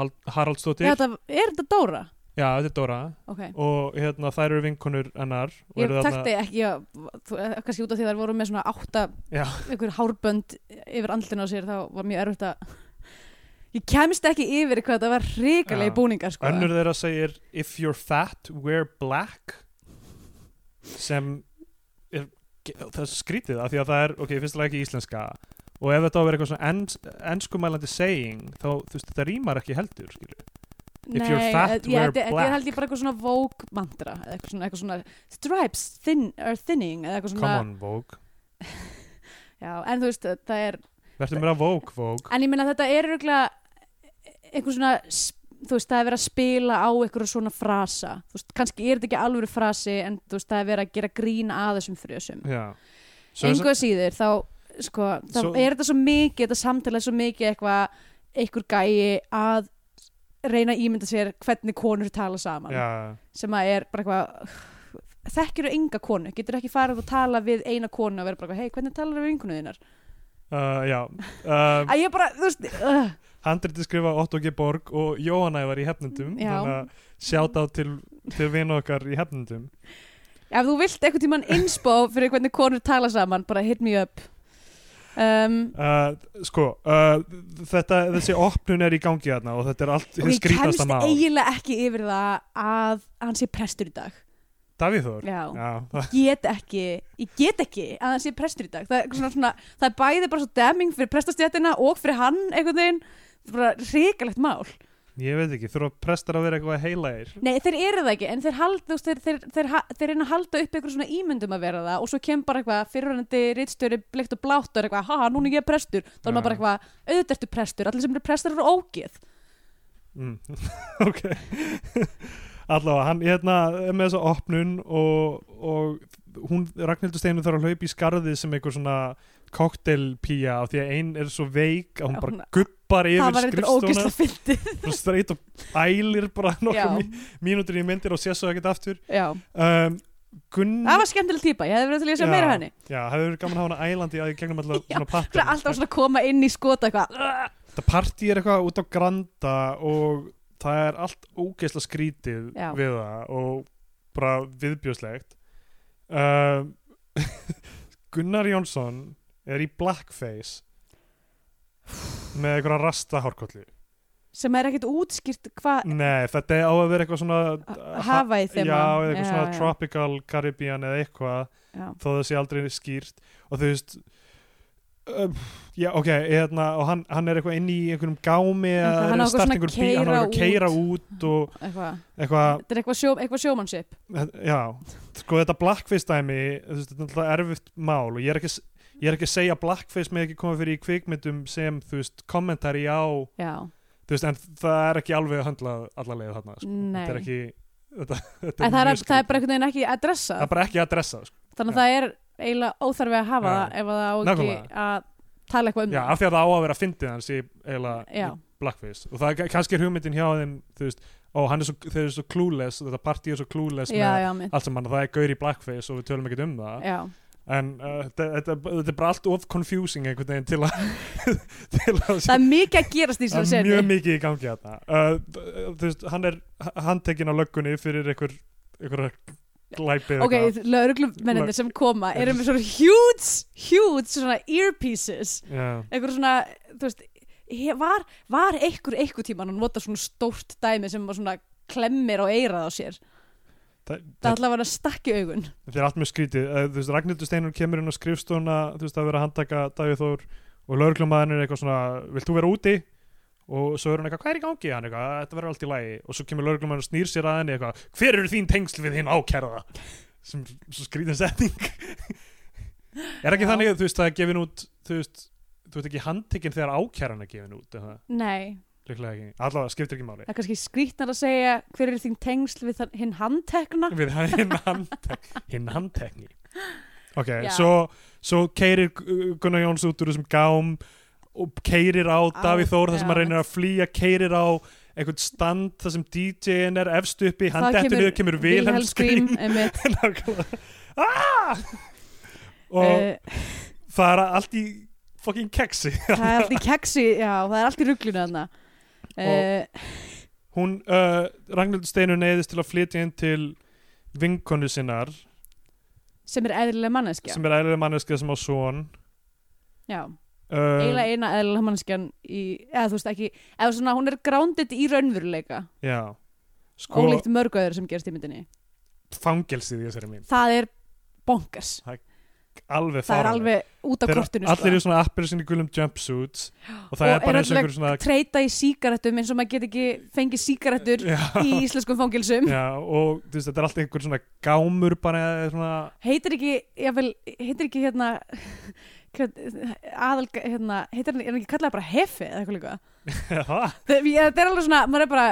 Hal Haraldsdóttir
Já, þetta, er þetta Dóra?
já, þetta er Dóra
Ok
og hérna, þær eru vinkonur hennar og
Ég
eru þarna-
takti ekki að, þú, eh, kannski út af því að þær voru með svona átta,
Já.
einhver hárbönd yfir andlinu á sér, þá var mjög erfitt að, ég kemst ekki yfir hvað þetta var hrikalegi
Já.
búningar, sko.
önnur þeirra segir if you're fat, wear black sem er, ge- það er skrítið af því að það er, ok, fyrst að ekki íslenska og ef þetta á að vera eitthvað svona ens, enskumælandi saying, þá þú veist, þetta rýmar ekki heldur, skilju if you're
Nei,
fat,
eh, ég,
wear
þetta- þetta
black.
er held ég bara eitthvað svona vogue mantra, eða eitthvað svona, eitthvað svona stripes thin, are thinning, eða eitthvað
come
svona,
on, Vogue,
já, en þú veist, það er,
verður mér að Vogue, Vogue
en ég minna þetta er örgulega eitthvað svona, s- þú veist, það er verið að spila á eitthvað svona frasa, þú veist, kannski er þetta ekki alvöru frasi, en þú veist, það er verið að gera grín að þessum frösum.
já Svo-
engu að síður þá sko, þá
Svo-
er þetta svo mikið þetta samtalið svo mikið eitthvað einhver gæi að reyna að ímynda sér hvernig konur tala saman
já,
sem að er bara eitthvað þekkir þú enga konu, getur ekki farið og tala við eina konu og vera bara eitthvað, hei, hvernig talar við vinkonu þínar?
uh, já um,
Að ég bara, þú veist, uh,
handriti skrifa Otto G. Borg og Jóhanna var í hefnundum
Já.
sjátt á til, til vina okkar í hefnundum
ef þú vilt eitthvað tíman inspo fyrir hvernig konur tala saman, bara hit me up um,
Uh, sko, uh, þetta, þessi opnun er í gangi þarna og þetta er allt
og
hins
ég
skrítasta
kemst
mál.
eiginlega ekki yfir það að hann sé prestur í dag
Davíð Þór?
Já.
Já,
get ekki, ég get ekki að hann sé prestur í dag það er, eitthvað svona, svona, það er bæði bara svo deming fyrir prestastjættina og fyrir hann einhvern veginn það er bara hrikalegt mál
ég veit ekki, þurfa prestar að vera eitthvað heilægir.
nei þeir eru það ekki en þeir, hald, þú veist, þeir, þeir, þeir, ha- þeir reyna að halda upp einhver svona ímyndum að vera það og svo kem bara eitthvað fyrirhandi rittstjóri blikt og blátt og er eitthvað haha núna er ég prestur þá er
Já.
maður bara eitthvað auðvitað ertu prestur allir sem eru prestur eru ógeð
Mm. ok. Allavega, hann hérna, er með þessa opnun og, og hún, Ragnhildur Steinu þarf að hlaupa í skarðið sem einhver svona koktelpía af því að ein er svo veik að hún
Já, hún-
bara guppar
það
yfir
var eitthvað ógeðslega
skrifstóna
fyndið
og streit og ælir bara
Já.
nokkuð mí mínútur í myndir og sé svo ekkert aftur.
Já.
Um, Gunn...
það var skemmtileg típa, ég hefði verið til í að segja
Já,
meira af henni
Já, það hefur verið gaman að hafa hana ælandi að ég gegnum alltaf
Já,
svona
Svo
pattern
alltaf svona koma inn í skota eitthvað
Þetta partí er eitthvað út á granda og það er allt ógeðslega skrítið
Já.
við það og bara viðbjóðslegt um, Gunnar Jónsson er í blackface með einhverja rasta hárkollu
sem er ekkert útskýrt hvað
Nei, þetta á að vera eitthvað svona
hafa í
Já,
þeim
eða eitthvað svona tropical Caribbean eða eitthvað þó það sé aldrei skýrt og þú veist um, já ok, eðna, og hann, hann er eitthvað inn í einhverjum gámi
Já,
eða
hann á
er
eitthvað svona
startingur bíl, hann er
keyra
eitthvað að keira út og
eitthvað,
eitthvað,
þetta er eitthvað, sjó, eitthvað sjómanship
já sko þetta blackface dæmi, þú veist, þetta er alltaf erfitt mál og ég er ekki að s- Ég er ekki að segja að blackface með ekki koma fyrir í kvikmyndum sem, þú veist, kommentari á,
já,
þú veist, en það er ekki alveg að höndla allarlega þarna, sko.
nei
Þetta er ekki, þetta, þetta
en
mjög
það er, það er bara
skrítið.
einhvern veginn ekki að dressa
Það er bara ekki að dressa, sko.
þannig að það er eiginlega óþarfi að
Já.
hafa það ef að það á ekki
Nákvæmlega.
að tala eitthvað um
Já, af því að það á að vera fyndið hans í eiginlega
Já.
í blackface og það er kannski er hugmyndin hjá þeim þú veist, ó, hann er svo, þeir eru svo clueless þetta partí er svo clueless
já,
með
já, mitt
allt sem hann það er gaur í blackface og við tölum ekkert um það
já,
en uh, þetta, þetta, þetta er bara allt of confusing einhvern veginn til að til að
það er mikið að gerast í
það
þessari
er mjög
senu
mikið í gangi þarna uh, þú veist, hann er handtekinn á löggunni fyrir einhver einhver glæpi eða
ok,
eitthvað.
lögreglumennir
Lög-
sem koma eru með svona huge, huge svona earpieces
Já.
einhver svona, þú veist he- var, var einhver einhver tíma hann nota svona stórt dæmi sem var svona klemmir á eirað á sér
Það,
það
það,
ætla að vera stakki augun
það er allt mjög skrítið uh, þú veist, Ragnhildur Steinur kemur inn á skrifstofuna þú veist, það er verið að handtaka Davíð Þór og lögreglumæðin er eitthvað svona, vilt þú vera úti og svo er hann eitthvað, hvað er í gangi hann eitthvað, "Eh, þetta verður allt í lagi og svo kemur lögreglumæðin og snýr sér að henni eitthvað hver eru þín tengsl við hinn ákærða sem svo skrítin setning er ekki
Já.
þannig að þú veist, það er gefin út þú veist, þú veist ekki handtekinn þegar ákæran er gefin út er það?
nei,
Líklega ekki, allavega skiptir ekki máli
það er kannski skrýtnar að segja hver er þín tengsl við þann- hinn handtekna
Við hinn handtek Hinn handtekni Ok,
Já.
svo, svo keirir Gunnar Jóns út úr þessum gám og keirir á
Á,
Davíð Þór þar sem
já.
hann reynir að flýja, keirir á einhvern stand þar sem DJ-in er efst uppi, hann
Það
dettur niður, kemur Vilhelm
Scream,
skrým
einmitt.
Ah! og
Eh,
það er allt í fucking keksi
það er allt í keksi já, það er allt í ruglunu þarna Eh,
Og- hún, uh, Ragnhildur Steinu neyðist til að flytja inn til vinkonu sinnar
sem er eðlilega manneskja
sem er æðlega manneska sem á son
já,
uh,
eiginlega eina eðlilega manneskjan í, eða þú veist ekki eða svona hún er grounded í raunveruleika
já
sko,
sko,
ólíkt mörg öður sem gerst í myndinni
fangelsið í þessari mynd
það er bonkers
alveg
það er
fáránlegt.
alveg út af
Þeir-
kortinu sko.
allir eru svona appelsinu gulum jumpsuits og það
Og
er bara
er
eins og einhver svona
treyta í sígarettum eins og maður get ekki fengið sígarettur í
já,
íslenskum fangilsum
já, og þú veist, þetta er alltaf einhver svona gámur bara svona
heitir ekki, jável, heitir ekki hérna hvern- aðal, hérna, heitir hann, er hann ekki kallað bara hefi eða eitthvað líka
Ha?
það ég- þetta er alveg svona, maður er bara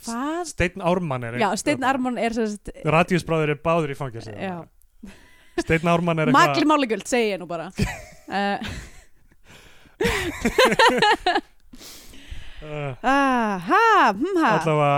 hvað?
Steinn Ármann er
Já, Steinn Armón er sem sagt
Radíusbráður er báður í fangelsi
Já.
Steinn Ármann er
magli
eitthvað
málegjöld, segi ég nú bara uh,
uh,
aha, hm, ha
allavega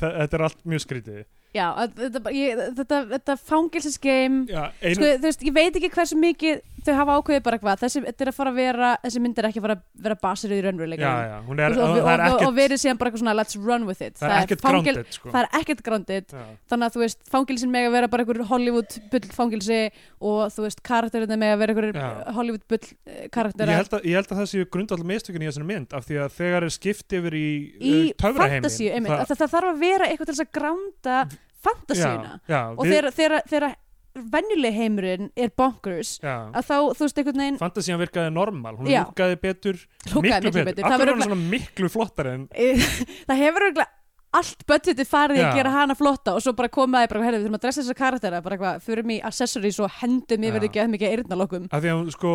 þe- þetta er allt mjög skrítið
Já, að- þetta, bara- ég, þetta, þetta fangilsisgeim
já,
sko,
einu,
þú veist, ég veit ekki hversu mikið þau hafa ákveðið bara hvað, þessi, þetta er að fara að vera þessi mynd er ekki að fara að vera basir í raunveruleika
já, já, hún er,
og, og,
það
og,
er
og, og
ekkert
verið síðan bara eitthvað svona let's run with it
það er ekkert
fangel-
grounded sko.
það er ekkert grounded,
Já.
þannig að þú veist fangilsin með að vera bara einhver Hollywood bull fangilsi og þú veist karakterinu með að vera
Já.
einhver Hollywood bull eh,
Ég
karakter
held, að, ég held að það séu grundvall mistökin í þessari mynd af því að þegar er skipt yfir í,
í
uh, töfraheimin
fantasíu, einmitt, það, það þarf að vera eitthvað til þess að gránda fantasíuna
já, já,
og
við,
þegar, þegar, þegar venjuleg heimurinn er bonkers
já.
að þá, þú veist, einhvern veginn
Fantasían virkaði normal, hún
Já.
lúkaði betur
Lúkkaði miklu betur. Það
Akkur
var
er hún svona miklu flottari en
Eh, það hefur örugglega allt budgetið farið í
Já.
að gera hana flotta og svo bara komaði bara, herri, við þurfum að dressa þessa karaktera bara eitthvað, förum í accessories og hendum yfir
Já.
ekki að mikið eyrnalokkum
af því að hún, sko,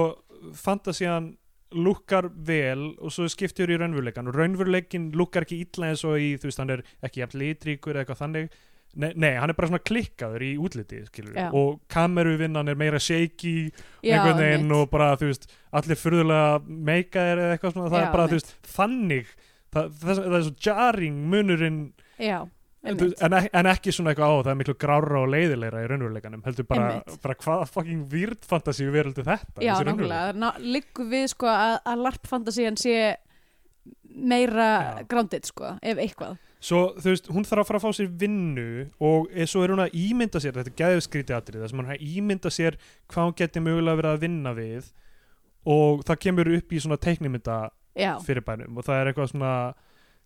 Fantasían lúkar vel og svo skiptir í raunveruleikan og raunveruleikin lúkar ekki illa eins og í, þú veist, hann er ekki jafn litríkur eða eitthvað þannig Nei, nei, hann er bara svona klikkaður í útliti skilur,
Já.
og kameruvinnan er meira shaky
Já,
einhvern veginn
einmitt.
og bara þú veist allir furðulega meikaðir eða eitthvað svona það
Já,
er bara þú veist þannig það, það, það er svo jarring munurinn
Já,
þú veist,
einmitt.
en, ek- en ekki svona eitthvað á það er miklu grára og leiðilegra í raunveruleikanum heldur bara,
Einmitt.
bara hvaða fucking výrd fantasíu veröldu þetta
Já,
þessi raunveruleiki?
nákvæmlega Ná, Liggur við sko að, að larpfantasían sé meira
Já.
grounded sko, ef eitthvað
svo þú veist hún þarf að fara að fá sér vinnu og e, svo er hún að ímynda sér þetta er geðskrítið atrið þar sem hún er að ímynda sér hvað hún geti mögulega verið að vinna við og það kemur upp í svona teiknimynda
Já,
fyrirbænum og það er eitthvað svona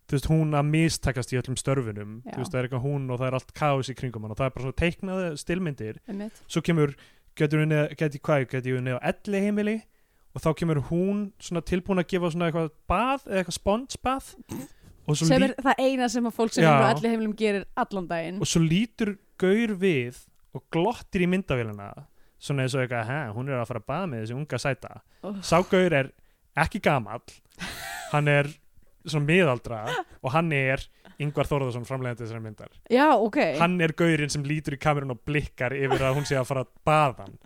þú veist, hún að mistakast í öllum störfunum
Já.
þú veist, það er eitthvað hún og það er allt kaos í kringum hann og það er bara svona teiknaði stilmyndir
einmitt
svo kemur, getur hún geti hvað, getur hún á elli heimili og þá kemur hún svona tilbúin að gefa svona eitthvað bað eða eitthvað sponsbað og svo,
sem
lít,
er það eina sem að fólk sem
Já.
er á allir heimilum gerir allan daginn
og svo lítur gaur við og glottir í myndavélina svona eins og eitthvað, hæ, hún er að fara að baða með þessi unga sæta
Oh.
sá gaur er ekki gamall hann er svona miðaldra og hann er Ingvar Þórðarsson framlegandi þessari myndar
Já, ok
hann er gaurinn sem lítur í kamerun og blikkar yfir að hún sé að fara að baða hann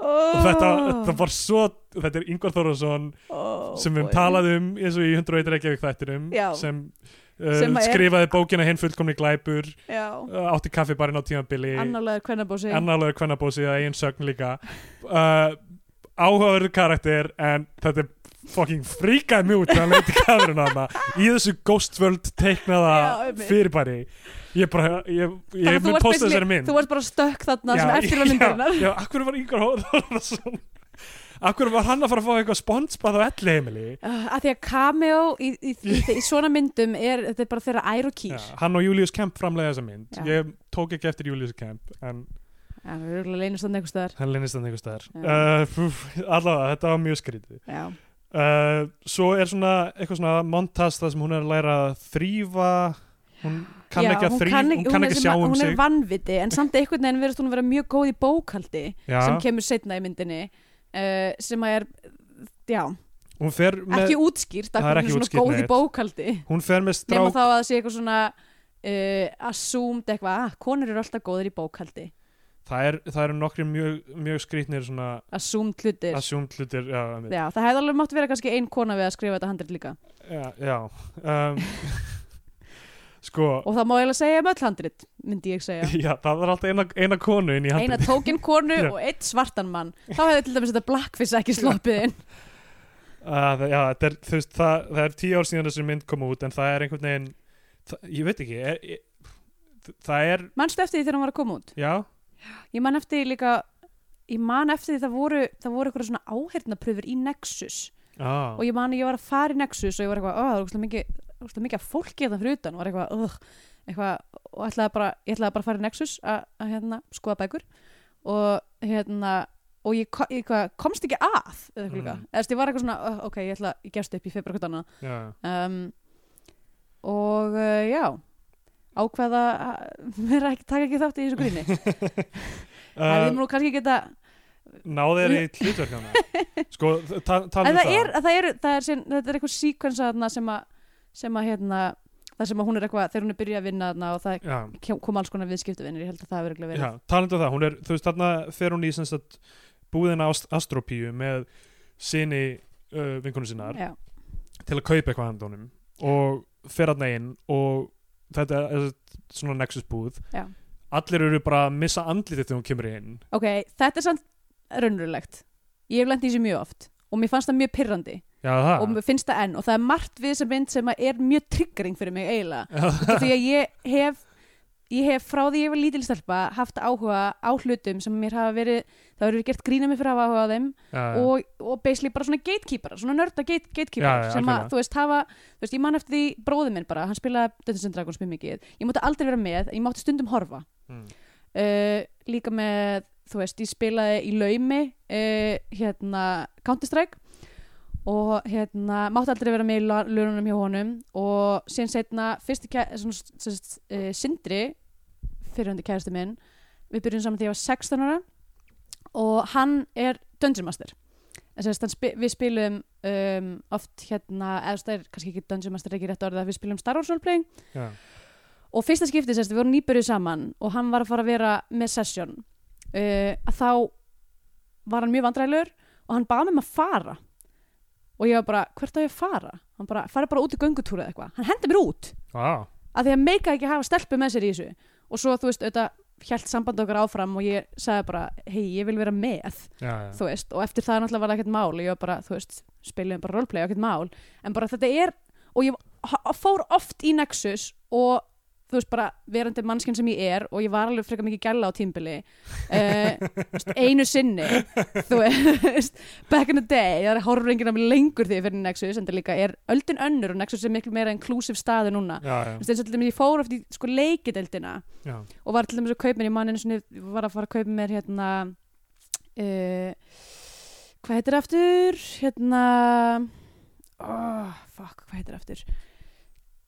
oh.
og þetta, þetta var svo þetta er Ingvar Þórðarsson
oh,
sem við um
boy.
talaðum eins og í 101 Reykjavík þættinum
Já.
sem
Sem
uh,
að er-
skrifaði bókina hinn fullkomni glæpur
já,
uh, átti kaffibarinn á tímabili
annarlegaður kvennabósi
annarlega kvennabósi að eigin sögn líka uh, áhugaverður karakter en þetta er fucking fríkað mjút þegar hann leiti kamerun á hana í þessu ghostvöld
Já,
teiknaða
einmitt.
fyrirbæri ég bara, ég, ég
Þannig að þú
mun
varst
posta
basically-
þessari mynd
þú varst bara stökk þarna sem eftir að
já,
myndarinnar
já, akkur var Ingvar Hóðarsson akkur var hann að fara að fá eitthvað sponsbað á elli heimili
Uh, að því að cameo í, í, í, í svona myndum er, þetta er bara þeirra ær og kýr
já, hann og Julius Kemp framlega þessa mynd
Já.
ég tók ekki eftir Julius Kemp en
Já, við erum leynast þannig einhvers staðar.
hann linnist hann einhver staðar
Já.
uh, fúf, allavega, þetta var mjög skrítið
Já,
Uh, svo er svona eitthvað svona montas það sem hún er að læra að þrýfa hún kann
Já,
ekki að
hún
þrýfa,
kann
hún kann ekki
er
að
sem-
sjá um
Hún
sig
er vannviti, en samt einhvern veginn verðist hún að vera mjög góð í bókaldi sem
já,
kemur setna í myndinni uh, sem að er, já,
hún fer með
ekki útskýrt af
Það er
hverju
ekki
hún er
útskýrt
svona góð í
neitt.
bókaldi
hún fer með
nema
strák
þá að það sé eitthvað svona uh, assumed eitthvað, ah, konur eru alltaf góðir í bókaldi
það, er, það eru nokkri mjög, mjög skrýtnir svona
assumed hlutir
assumed hlutir já, einmitt.
Já, það hefði alveg mátt vera kannski ein kona við að skrifa þetta handrit líka
já, já. Um, sko
og það má eiginlega segja um öll handrit myndi ég segja
já, það er alltaf eina, eina konu inn í
eina
handið
tókin konu
Já.
og eitt svartan mann þá hefði til dæmis þetta blackfish ekki sloppið inn
uh, já, það, er, þú veist, það, það er tíu ár síðan þessi mynd kom út en það er einhvern veginn það, ég veit ekki er, ég, það er
mannstu eftir því þegar hún var að koma út
já,
ég man eftir því líka ég man eftir því það voru það voru eitthvað svona áhernapröfur í Nexus
ah.
og ég man að ég var að fara í Nexus og ég var eitthvað, "Ó, það er ógeðslega mikið ógeðslega mikið af fólki þetta fyrir utan og var eitthvað, ögh, eitthvað og ætlaði bara, ég ætlaði bara að fara í Nexus að, að hérna, skoða bækur og hérna og ég, ko- ég hvað, komst ekki að eða eitthvað líka,
Mm.
eða þú veist, ég var eitthvað svona "Ugh, ok, ég ætla, ég gerst upp, ég fyrir bara eitthvað annað
já.
um, og uh, já ákveða að vera ekki, taka ekki þátt í þessu gríni það er
uh,
nú kannski geta
náðu þér í hlutverk hana sko, ta- tala
en
um
það er, að það er, það er sem, þetta er eitthvað síkvensa þarna sem að, sem að hérna, það sem að hún er eitthvað, þegar hún er byrjað að vinna þarna og það
já,
kem- kom alls konar viðskiptuvinnir, ég held að það hafi örugglega
já,
verið
tala um það hún er, þú veist, þarna fer hún í sem sagt, búðina ást, astropíu með sinni uh, vinkonu sinnar
já,
til að kaupa eitthvað handa honum og fer hann inn og þetta er svona nexus búð
Já.
allir eru bara að missa andlitið þegar hún kemur inn
ok, þetta er samt raunrulegt, ég hef lent í þessu mjög oft og mér fannst það mjög pirrandi
já
og
það
mér finnst það enn og það er margt við þessa mynd sem að er mjög triggering fyrir mig eiginlega
já,
Út af því að ég hef ég hef frá því ég var lítil stelpa haft áhuga á hlutum sem mér hafa verið það hefur verið gert grína mig fyrir að hafa áhuga á þeim
já,
og, og basically bara svona gatekeeper svona nörda gate, gatekeeper
Já, já,
sem
algjörlega.
að þú veist hafa, þú veist ég man eftir því bróði minn bara, hann spilaði Dungeons and Dragons mjög mikið ég mátti aldrei vera með, ég mátti stundum horfa
Mm.
uh, líka með þú veist, ég spilaði í laumi uh, hérna Counter-Strike og hérna mátti aldrei vera með í la- laununum hjá honum og síðan setna fyrsti kæ, svona, svona, svona, uh, sindri fyrirhundi kæristu minn við byrjum saman þegar ég var 16 ára og hann er Dungeon Master En sem sagt, hann spi- við spilum um, oft hérna, eða þú veist, það er kannski ekki Dungeon Master er ekki rétt orðið að við spilum Star Wars roleplaying
já,
og fyrsta skipti sérst, við vorum nýbyrjuð saman og hann var að fara að vera með session uh, að þá var hann mjög vandræðilegur og hann baði mig um að fara og ég var bara, hvert á ég að fara? hann bara, farið bara út í göngutúra eða eitthvað hann hendi mér út,
Vá.
af því að meika ekki hafa stelpu með sér í þessu og svo, þú veist, auðvitað hjælt samband okkar áfram og ég sagði bara hei, ég vil vera með
já, já.
þú veist, og eftir það náttúrulega var það ekkert mál ég var bara, þú veist, spilum bara roleplay ekkert mál, en bara þetta er og ég ha- fór oft í Nexus og þú veist bara verandi mannskinn sem ég er og ég var alveg frekar mikið gæla á tímbili uh, einu sinni þú veist, back in the day það er horfur enginn af mig lengur því fyrir Nexus en það líka er öldin önnur og Nexus er miklu meira inklusiv staði núna
já, já,
Þú veist, eins og til dæmis ég fór oft í sko leikideldina
já.
og var til dæmis að kaupa mér í manninu sinni var að fara að kaupa mér hérna uh, hvað heitir það aftur hérna oh, fuck, hvað heitir það aftur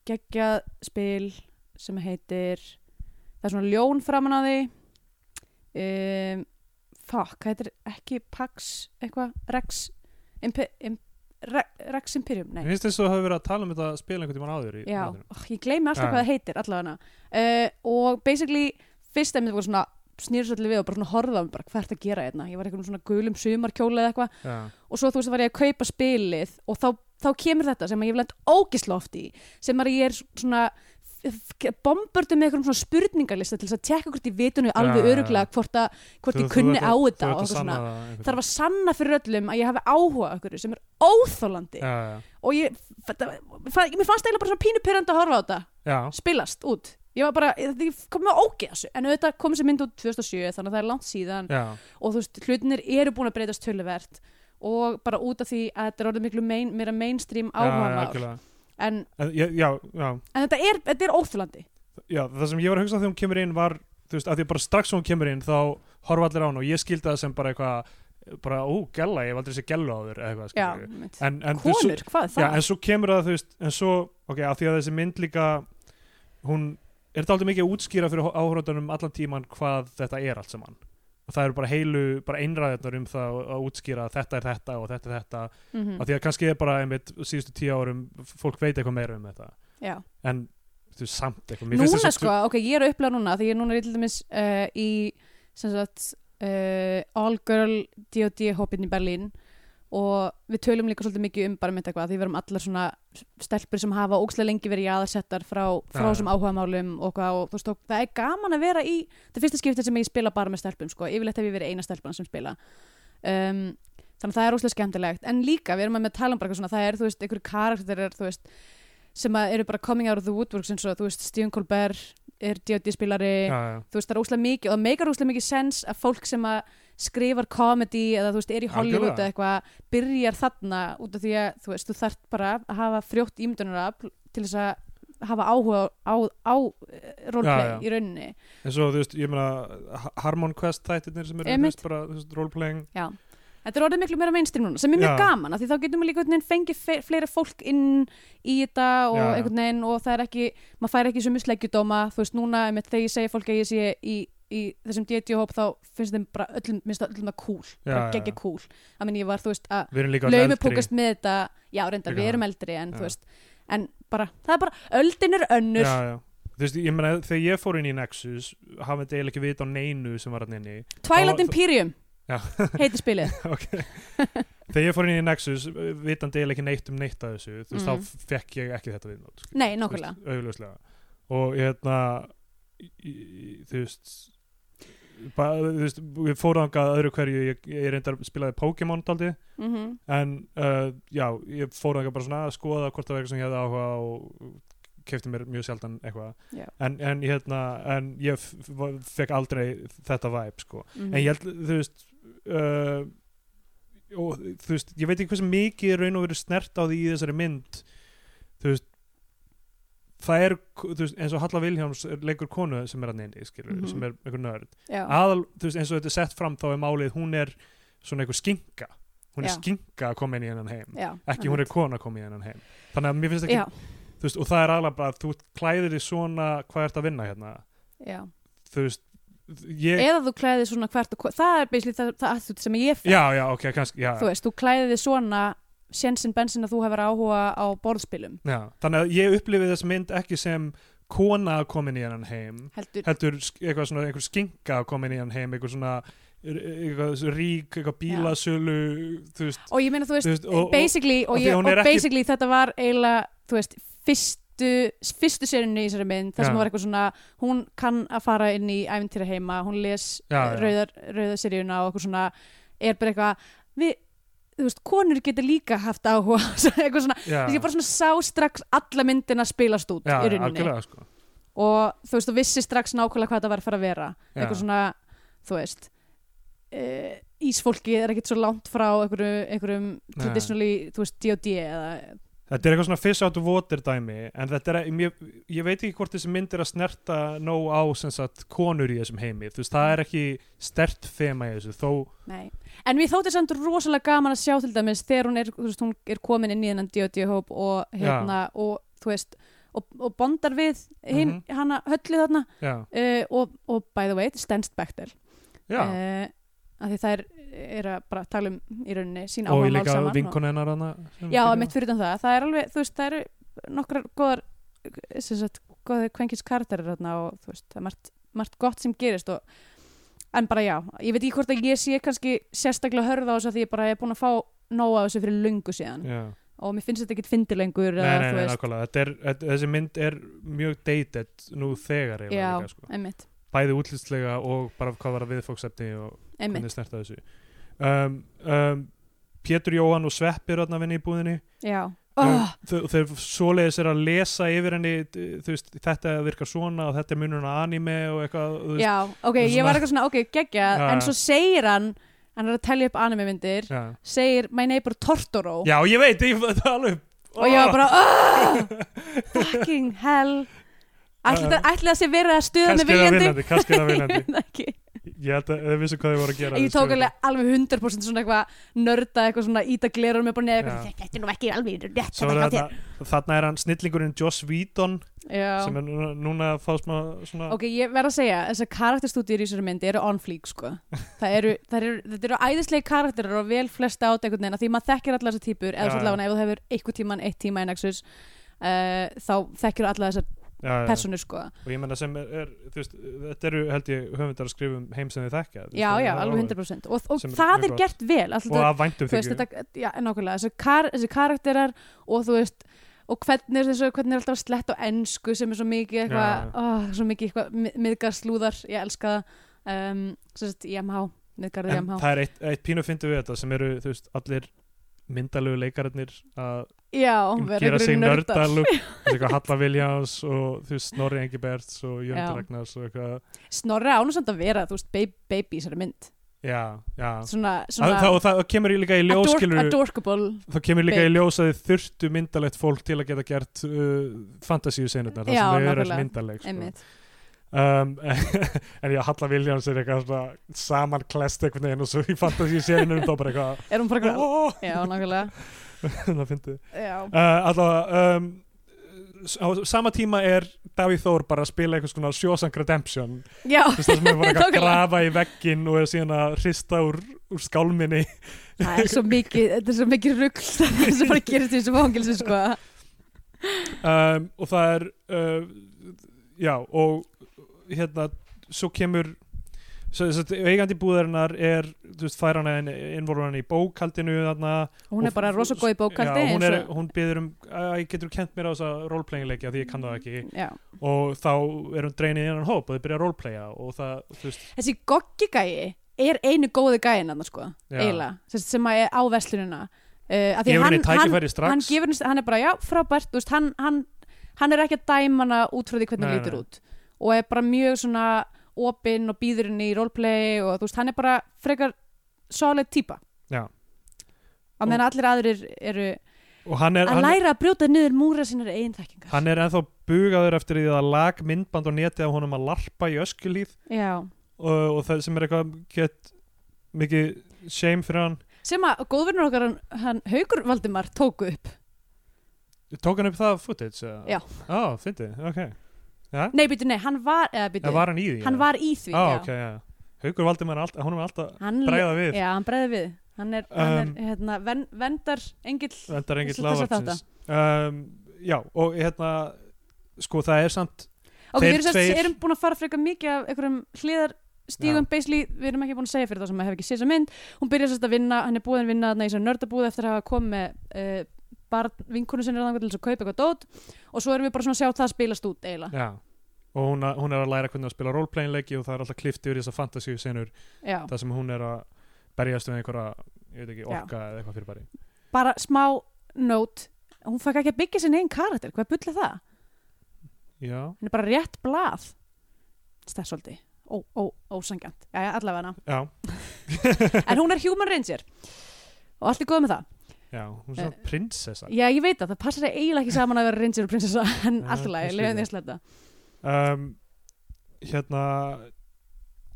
geggjað spil sem heitir það er svona ljón framan á því um, fuck, hvað heitir ekki Pax eitthvað, Rex Impe, Im, Re, Rex Imperium, nei
Mér finnst þess að þú hafi verið að tala um þetta að spila einhvern tímann áður í Ah.
Já,
þættinum.
oh, ég gleymi alltaf
Já.
hvað það heitir allavega uh, og basically fyrst emnið var svona snýrus allir við og bara svona horfða um bara hvað er þetta að gera hérna ég var eitthvað svona gulum sumarkjóla eða eitthvað
já,
og svo þú veist var ég að kaupa spilið og þá þá kemur þetta sem að ég hef lent ógisla oft í sem að ég er svona bombardum með einhverjum svona spurningarlista til þess að tjekka hvort ég vitunum
Já,
alveg
já, já.
öruglega hvort, að, hvort
Ah. Þú-
ég
þú
kunni
ert
á
að- þú
þetta og
ert að
eitthvað
sanna
svona
það einhvern
þarf að sanna fyrir öllum að ég hafi áhuga á einhverju sem er óþólandi
veginn. Já, já,
og ég, þetta- fa- mér fannst eiginlega bara svona pínu pyrrandi að horfa á þetta
já,
spilast út ég var bara, ég ég kom með ógeðasu en auðvitað kom þessi mynd út 2007 þannig að það er langt síðan
já,
og þú veist, hlutinir eru búin að breytast töluvert og bara út af því að þetta er orðið miklu main, meira
já,
mainstream
já,
áhugamál
algjörlega.
en,
En ég- já, já,
en þetta er, þetta er óþjólandi
já, það sem ég var að hugsa þegar hún kemur inn var, þú veist, að því að bara strax sem hún kemur inn þá horfa allir á hún og ég skildi það sem bara eitthvað, bara, ó, gæla, ég hef aldrei sér gæla á þér, eða eitthvað,
já,
skilurðu.
einmitt.
En, en þú-
konur, hvað er
Já,
það?
en svo kemur það, þú veist, en svo, ok, að því að þessi mynd líka, hún, er þetta aldrei mikið að útskýra fyrir áhrótanum allan tíman hvað þetta er allt saman? Og það eru bara heilu, bara einræðarnar um það að- að útskýra að þetta er þetta og þetta er þetta,
Mhm,
að því að kannski er bara, einmitt, síðustu tíu árum, f- fólk veit eitthvað meira um þetta,
já.
en þú veist, samt eitthvað. Mér finnst
núna
þessi-
sko, ok, ég er að upplega núna því ég núna er til dæmis uh, í sem sagt uh, all girl D.O.D. hópinn í Berlín og við tölum líka svolítið mikið um bara með eitthvað, því við erum allar svona stelpur sem hafa ókslega lengi verið jáðarsettar frá, frá
Já, já.
þessum áhugamálum og, hvað, og þú veist, og það er gaman að vera í það er fyrsta skiptið sem ég spila bara með stelpum sko, yfirleitt hef ég verið eina stelpan sem spila um, þannig að það er óslega skemmtilegt en líka, við erum að með tala um bara eitthvað svona það er, þú veist, einhverju karakterir, þú veist sem að eru bara coming out of the woodworks eins og, þú veist, Stephen Colbert er D.O.D. spilari
Já, já,
þú veist, það er óslega mikið og það meikar óslega mikið sens að fólk sem að skrifar komedi eða þú veist, er í Hollywood
Algjörlega.
eða eitthvað, byrjar þarna út af því að þú veist, þú þarft bara að hafa frjótt ímyndunarafl til þess að hafa áhuga á, á, á eh, roleplay
Já, já.
í rauninni
en svo, þú veist, ég meina, Ha- Harmon Quest þættirnir sem eru, þú
Einmitt.
veist, bara, þú veist, roleplaying,
Já. Þetta er orðið miklu meira mainstream núna sem er mjög
Já.
gaman af því þá getum við líka einhvern veginn fengið fe- fleira fólk inn í þetta og
Já, já.
einhvern veginn og það er ekki, maður fær ekki sem slegjudóma, þú veist núna einmitt, þegar ég segi fólk að ég sé í, í þessum DT-hóp þá finnst þeim bara öllum, minnst það öllum það cool, bara
Já, já, já.
geggja cool að minn ég var, þú veist, að
við erum líka öll eldri.
laumupúkast með þetta, já reyndar,
Líka
við
það.
erum eldri en
Já.
þú veist, en bara, það er bara öldin er önnur,
Já, já. Þú veist, ég meina, þegar ég fór inn í Nexus, hafði þetta eiginlega ekki vita á neinu sem var hann inni.
Twilight
þá-
Imperium
Já.
heiti spilið,
ok þegar ég fór inn í Nexus uh, vitandi eiginlega ekki neitt um neitt að þessu þú veist,
Mm.
þá fekk ég ekki þetta viðmót skilur,
nei,
þú veist,
nákvæmlega
augljóslega og hérna í- í- þú veist bara, þú veist, við fórum þangað öðru hverju ég, ég reyndar spilaði Pokémon daldi
mm
en uh, já, ég fórum þangað bara svona að skoða hvort það var eitthvað sem ég hefði áhuga á og kefti mér mjög sjaldan eitthvað
Já.
en, en, hérna, en ég f- f- fekk aldrei þetta væp sko
-hmm.
en ég held, þú veist uh, og þú veist ég veit ekki hversu mikið er raun og verið snert á því í þessari mynd þú veist það er, þú veist, eins og Halla Vilhjáms er leikur konu sem er að neini, skilur
Mhm.
sem er einhver nörd,
já.
aðal, þú veist, eins og þetta er sett fram þá er málið, hún er svona einhver skinka, hún er
Já.
skinka að koma inn í hennan heim,
Já, mhm.
ekki hún er kona að koma í hennan heim, þannig að mér finnst ekki
já,
þú veist, og það er aðalega bara, þú klæðir því svona hvað ert að vinna hérna,
já.
þú veist ég,
eða þú klæðið svona hvert og hvert það er basically það, það attitút sem ég fæ
já, já, ok, kannski, já,
þú veist, þú klæðið svona sensin bensin að þú hefur áhuga á borðspilum
Já, þannig að ég upplifið þess mynd ekki sem kona að koma inn í hennan heim
heldur,
heldur sk- eitthvað svona einhver skinka að koma inn í hennan heim eitthvað svona er- eitthvað svo rík, eitthvað bílasölu þú veist,
og ég meina þú veist,
þú veist og, og,
basically og,
og því
ég,
hún
og
er ekki-
basically þetta var eiginlega, þú veist, fyrstu fyrstu serinu í þessari mynd þar sem
Já.
var eitthvað svona, hún kann að fara inn í æfintýra heima, hún les
Já, já.
rauðar, rauðar seríuna og eitthvað svona er bara eitthvað, við þú veist, konur getur líka haft áhuga eitthvað svona,
já,
ég bara svona sá strax alla myndina spilast út
já,
í rauninni
algjörlega sko
og þú veist, þú vissi strax nákvæmlega hvað þetta var að fara að vera
Já.
eitthvað svona, þú veist uh, Ísfólki er ekkert svo langt frá einhverju, einhverjum
Nei.
traditionally, þú veist, D.O.D. eða,
Þetta er eitthvað svona fish out of water dæmi en þetta er, ég, ég veit ekki hvort þessi mynd er að snerta nóg á sem sagt konur í þessum heimi, þú veist, það er ekki stert þema í þessu, þó
nei en mér þótti samt rosalega gaman að sjá til dæmis þegar hún er, þú veist, hún er komin inn í þennan D.O.D. hóp og hérna, og þú veist og, og bondar við hinn,
Mhm.
hana höllu þarna
já,
uh, og, og by the way, Stenst Bechtel
já
uh, að því þær eru að bara tala um í rauninni sín
og
áhugamál
ég líka
saman og-
vinkona hennar hana sem
Já,
byrjar.
mitt fyrir utan það, það er alveg, þú veist, það eru nokkrar góðar sem sagt, góði kvenkins karakterir þarna og þú veist, það er margt, margt gott sem gerist og, en bara já, ég veit ekki hvort að ég sé kannski sérstaklega hörða á þessu að því ég bara er búin að fá nóg á þessu fyrir lungu síðan
já.
og mér finnst þetta ekkit fyndi lengur
Nei,
eða,
nei,
þú
nei,
veist,
nákvæmlega, þetta er, þetta, þessi mynd er mjög dated nú þegar eiginlega
Já.
líka, sko.
einmitt,
bæði útlýstlega og bara hvað var að viðfóksefni og
einmitt
hvernig snerta þessu um, um, Pétur Jóhann og Svepp eru þarna að vinna í búðinni
já,
oh.
oh,
þeir svoleiðis er að lesa yfir henni þú veist, þetta virkar svona og þetta er munurinn að anime og eitthvað þú veist,
já, ok,
svona-
ég var eitthvað svona, ok, geggja
Já,
en
já.
svo segir hann, hann er að telja upp anime myndir,
já.
segir My Neighbor Tortoro
já, ég veit, ég það er alveg
og ég var bara, oh, fucking hell ætli
Já.
það- ætli það sé verið að stuða með
Ah, kannski er það
viljandi
viljandi, kannski er það
ég
viljandi
veit það ekki
ég held að þau vissu hvað þau voru að gera
ég
þau
tók
skrifuðu.
alveg alveg 100% svona eitthvað nörda eitthvað svona íta glerur með bara neða eitthvað
Já.
þetta er nú ekki alveg rétt
Svo
þetta
er
hjá þér."
þarna, þarna er hann snillingurinn Joss Whedon sem
Já.
er núna, núna að fá smá svona
ok, ég verð að segja þessar karakterstúdíur í þessari myndi eru on fleek sko. það eru, það eru, þetta eru æðislega karakterar og vel flesta át einhvern veginn af því maður þekkir alla þessar típur
Já,
eða
já.
allavega ef þú hefur einhvern tíman eitt tíma í Nexus uh, þá þekkir alla þessar
já, já, já.
personur sko.
og ég menna sem er, er þú veist, þetta eru held ég höfundar að skrifa um heim sem þið þekkja þú veist,
já,
það
já,
er
alveg
alveg-
100% og, og
Sem er
það
mjög
er
gott.
gert vel alltaf
og að væntum
þú veist,
þykju
þetta, já, nákvæmlega, þessi, kar, þessi karakterar og þú veist, og hvernig, þessu, hvernig er alltaf slett á ensku sem er svo mikið
Já,
eitthvað,
já.
ó, svo mikið eitthvað miðgarslúðar, ég elska það um, sem sagt, IMH, miðgarði
en
IMH
það er eitt, eitt pínu fyndu við þetta sem eru þú veist, allir myndalögu leikararnir að
já, vera
gera sig
einhverjir nördar.
nördalug eins og eitthvað Halla Viljáns og þú veist, Snorri Engiberts og
Já.
Jörgur Ragnars og eitthvað
Snorri ánúsamt að vera, þú veist, baby, baby í þessari mynd,
já, já
svona,
Svona,
svona
það, og það kemur í líka í ljós
ador-
skilur,
adorkable
þá kemur líka í
Babe.
ljós að þið þurftu myndalegt fólk til að geta gert uh, fantasíu senurnar, það sem
Já,
þau eru alls
nákvæmlega.
myndaleg sko.
einmitt,
um, en já, Halla Viljáns er eitthvað svona samanklest einhvern veginn og svo í fantasíu senum þá bara eitthvað
er hún bara eitthvað
"Ó!"
já, nákvæmlega,
það fyndi
já
uh, allavega um, s- á sama tíma er Davíð Þór bara að spila einhvers konar Shawshank Redemption
já,
þú veist það sem er bara eitthvað að
Nákvæmlega.
grafa í veggin og er síðan að hrista úr, úr skálminni
það er svo mikið þetta er svo mikið rugl sem bara gerist í þessu fangilsu, sko
um, og það er uh, já og hérna svo kemur svo, svo, eigandi búðarinnar er þú veist fær hana innvolur hana í bókaldinu þarna
hún er
Og-
bara rosa góð í bókaldi
já, hún,
eins
er,
og-
hún byður um að getur kent mér á þessa roleplaying leikja því ég kann það ekki
Já.
og þá er hún dreinið innan hóp og þau byrja að roleplaya og það, þú veist,
þessi goggigæi er einu góði gæin hann sko,
Já.
eiginlega sem, sem að er á veslunina uh,
gefur henni
hann,
tækifæri strax
hann, gefur henni, hann er bara, já, frábært þú veist, hann, hann, hann er ekki að dæma hana út frá því hvernig
Nei,
hann lítur
nei.
út og er bara mjög svona opinn og býður henni í roleplay og þú veist, hann er bara frekar solid típa
Já.
að meðan allir aðrir eru
og hann er,
að
hann,
læra að brjóta niður múra sínar eigin þekkingar
hann er ennþá bugaður eftir því að lag myndband og netið af honum að larpa í öskulíð
já
og, og það sem er eitthvað get, mikið shame fyrir hann
sem að góðvinnur okkar hann, hann Haugur Valdimar tóku upp
tók hann upp það footage? eða?
Já.
á, fyndið, ok
nei, byrju, nei, hann var, eða, byrju,
eða var hann í því?
hann var í því
á,
já.
ok, já Haukur valdi mér alltaf, honum er alltaf
hann,
bregða við
já, hann bregði við hann er, hann
Um,
er hérna, ven, vendar engill
vendar engill
Þessa- þessa
lávartsins um, já, og hérna sko það er samt
ok,
þeir
við erum, tveir...
tveir-
erum búin að fara frekar mikið af einhverjum hliðar stígum, basically, við erum ekki búin að segja fyrir það sem að hef ekki séð þessa mynd, hún byrjar sérst að vinna hann er búin að vinna þarna í þessar nördabúð eftir að hafa komið með uh, barn, vinkonu sinni þangað til þess að kaupa eitthvað dót og svo erum við bara svona að sjá það spilast út eiginlega
já, og hún, a- hún er að læra hvernig að spila roleplayinleiki og það er alltaf klift yfir þessar fantasíu senur
já,
það sem hún er að berjast við einhverja ég veit ekki, orka eða eitthvað fyrir bari
bara smá note, hún fæk ekki að byggja sinni einn karakter, hvað bull er það?
já,
hann er bara rétt blað það er svolítið ó, ó, ósangjant, já, já, allavega
já,
en hún er human ranger og allt er góð með það
já hún er
Eh,
svona prinsessa
já, ég veit að það passar eiginlega ekki saman að vera ranger og prinsessa en
Já,
allt í lagi,
ég skil
leiðum því
það.
að sletta
um, hérna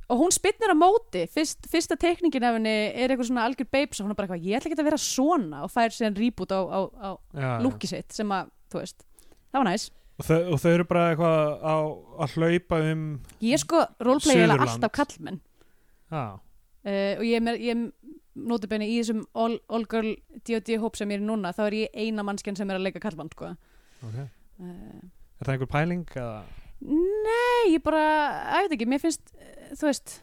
og hún spinnir á móti, Fyrst, fyrsta teikningin af henni er eitthvað svona algjör babes og hún er bara eitthvað, ég ætla ekki að vera svona og fær síðan reboot á, á, á
já, já.
lúki sitt sem að, þú veist, það var næs
og, þau, og þau eru bara eitthvað á, að hlaupa um
ég sko roleplay eiginlega
Suðurland.
alltaf kallmenn
já,
uh, og ég, er með- ég noti benni í þessum all, all girl D.O.D. hóp sem ég er í núna þá er ég eina mannskjarn sem er að leika kallmann sko.
ok er
uh,
það einhver pæling eða
nei, ég bara, að veit ekki mér finnst, uh, þú veist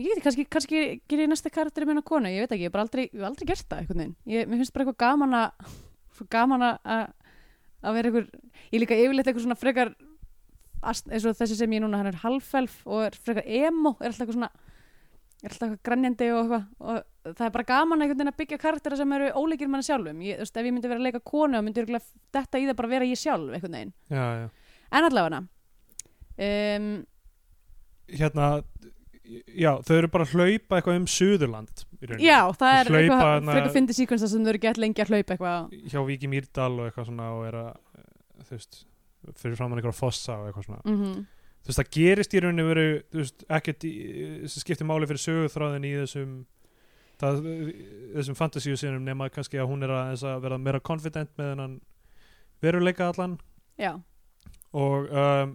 ég veit ekki, kannski, kannski gerir ég næsta karakterinn minna konu, ég veit ekki, ég hef bara aldrei, ég hef aldrei gert það einhvern veginn, ég, mér finnst bara eitthvað gaman að svo gaman að- að að vera einhver, ég líka yfirleitt einhver svona frekar ast- eins og þessi sem ég er núna, hann er halfelf og er frekar emo, er alltaf eitthvað svona er alltaf eitthvað grænjandi og eitthvað og það er bara gaman einhvern veginn að byggja karaktera sem eru ólíkir manna sjálfum, ég, þú veist, ef ég myndi vera að leika konu þá myndi ég þetta í það bara vera ég sjálf einhvern veginn,
já, já.
en allavega um,
hérna já, þau eru bara að hlaupa eitthvað um Suðurland í rauninni.
já, það er
Hlaupa
eitthvað
þarna-
frekar fyndi síkvensta sem þau eru gett lengi að hlaupa eitthvað
hjá Viki Mýrdal og eitthvað svona og er að, eh, þú veist fyrir framann eitthvað fossa og eitthvað svona
mm
þú veist, það gerist í rauninni veru þú veist, ekkert í, sem skiptir máli fyrir sögurþráðin í þessum það, þessum fantasíu sinum nema kannski að hún er að, þess að vera meira confident með hennan veruleika allan
já,
og um,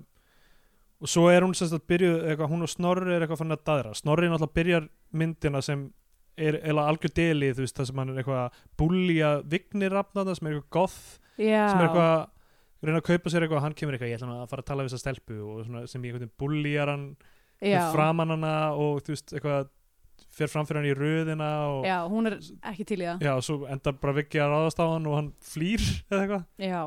og svo er hún semst að byrjuð eitthvað, hún og Snorri er eitthvað fann að daðra Snorri náttúrulega byrjar myndina sem er eða algjör deli þú veist það sem hann er eitthvað að búlja vignirrafnaða sem er eitthvað goth
já
sem er eitthvað að reyna að kaupa sér eitthvað og hann kemur eitthvað, ég ætla hann að fara að tala við þessa stelpu og svona, sem ég einhvern veginn búljar hann
já,
framan hana og þú veist eitthvað fer framfyrir hann í röðina og
já, hún er ekki til í það
já, og svo endar bara vikið að ráðast á hann og hann flýr eða eitthvað
já,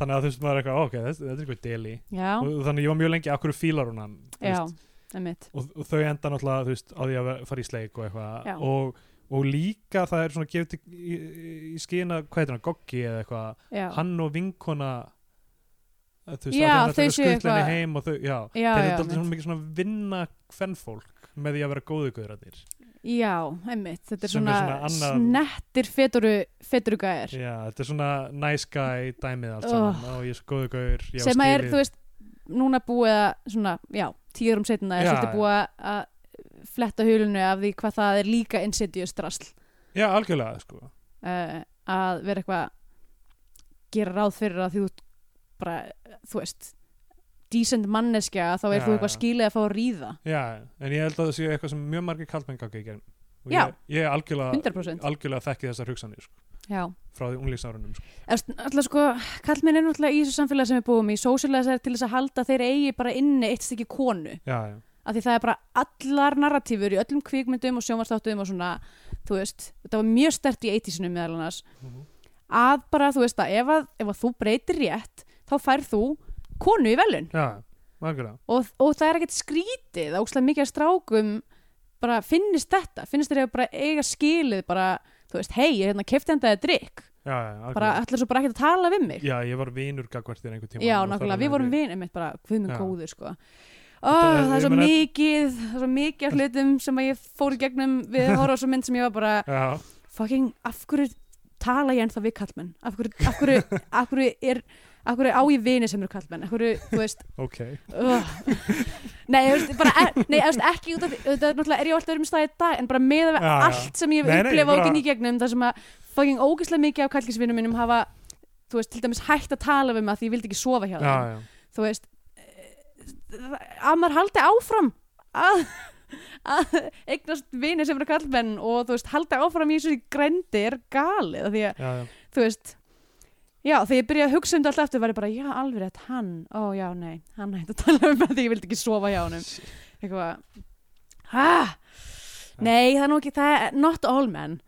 þannig að þú veist maður er eitthvað, "Ó, ok, þetta, þetta er eitthvað deli
já,
og þannig að ég var mjög lengi, akkur fílar hún hann þú
já
veist?
einmitt,
og, og þau enda náttúrulega þú veist, á því að ver- fara í sleik og
Já.
eitthvað og, og líka það er svona gefið til- í, í, í skina, hvað heitir hann, Goggi eða eitthvað
já
hann og vinkona að þú veist,
Já,
að
þau
þau
séu
skuldleinu
eitthvað-
heim og þau, já,
Já,
þeir eru
já,
dálítið
mitt.
svona mikið svona vinna kvennfólk með því að vera góðu guðrættir
já, einmitt, þetta er
Sem er
svona,
svona annað-
snettir feturu, feturu gæðir
já, þetta er svona nice guy dæmið allt
Oh.
saman, og ég er svo góðu guður ég á
sem að er,
skilið.
þú veist, núna búið að svona, já, tíður um setna er
Já,
svolítið
já.
búið að- að fletta hulunu af því hvað það er líka insidious drasl
já, algjörlega, sko
uh, að vera eitthvað að gera ráð fyrir að því þú ert bara, þú veist decent manneskja þá er
Já,
þú eitthvað
já.
skilið að fá að ríða
já, en ég held að það sé eitthvað sem mjög margir kallmenn gangi í gegn og
Já.
ég, ég algjörlega,
100%
algjörlega þekki þessar hugsanir sko,
já
frá því unglísárunum sko.
Alltaf sko, kallmenn er náttúrulega í þessu samfélagi sem við búum í, sósílæsar til þess að halda að þeir eigi bara inni eitt stykki konu
já, já,
af því það er bara allar narratífur í öllum kvikmyndum og sjónvarstáttum og svona, þú veist, þetta var mjög stert í 80-sinu meðal annars
Mhm.
að bara, þú veist, að ef, að, ef að þú breytir rétt, þá færð þú konu í velun
já, algjörlega
og, og það er ekkert skrítið að ókslega mikið af strákum bara finnist þetta, finnist þeir eiga bara eiga skilið bara, þú veist, hei, ég hérna kefti hann þetta drikk,
já, já, algjörlega.
bara ætlar svo bara ekkert að tala við mig
já, ég var vinur gagvart þér einhver tíma
Já, nákvæmlega, við vorum vinum mitt bara, við minn
Já.
góður sko Ó,
Þetta-
það
ég
er svo
meina-
mikið, það er svo mikið af hlutum sem að ég fór í gegnum við að horfa á svo mynd sem ég var bara
já,
fucking, af hverju tala ég ennþá við kallmenn? Af hverju, af hverju, af hverju er, af hverju á ég vini sem eru kallmenn? Af hverju, þú veist,
ok
uh. Nei, þú veist, bara, er, nei, þú veist, ekki út af því, þetta er náttúrulega er ég á alltaf öðrum stað í dag en bara með að
Já, já.
allt sem ég
Nei,
hef
nei,
upplifað
bara-
okkur í gegnum þar sem að fucking ógeðslega mikið af kallkisvinnum mínum hafa, þú veist, til dæmis hægt að tala við mig að því ég vildi ekki sofa
já,
hjá þeim
já,
þú veist eh, að maður haldi áfram að, að eignast vini sem eru kallmenn og þú veist haldi áfram í þessu grendi er galið af því að
já, já.
þú veist já þegar ég byrjaði að hugsa um þetta alltaf eftir var ég bara já alveg rétt hann, ó já nei hann hætti að tala um að því ég vildi ekki sofa hjá honum eitthvað hæ nei það er nú ekki það er not all men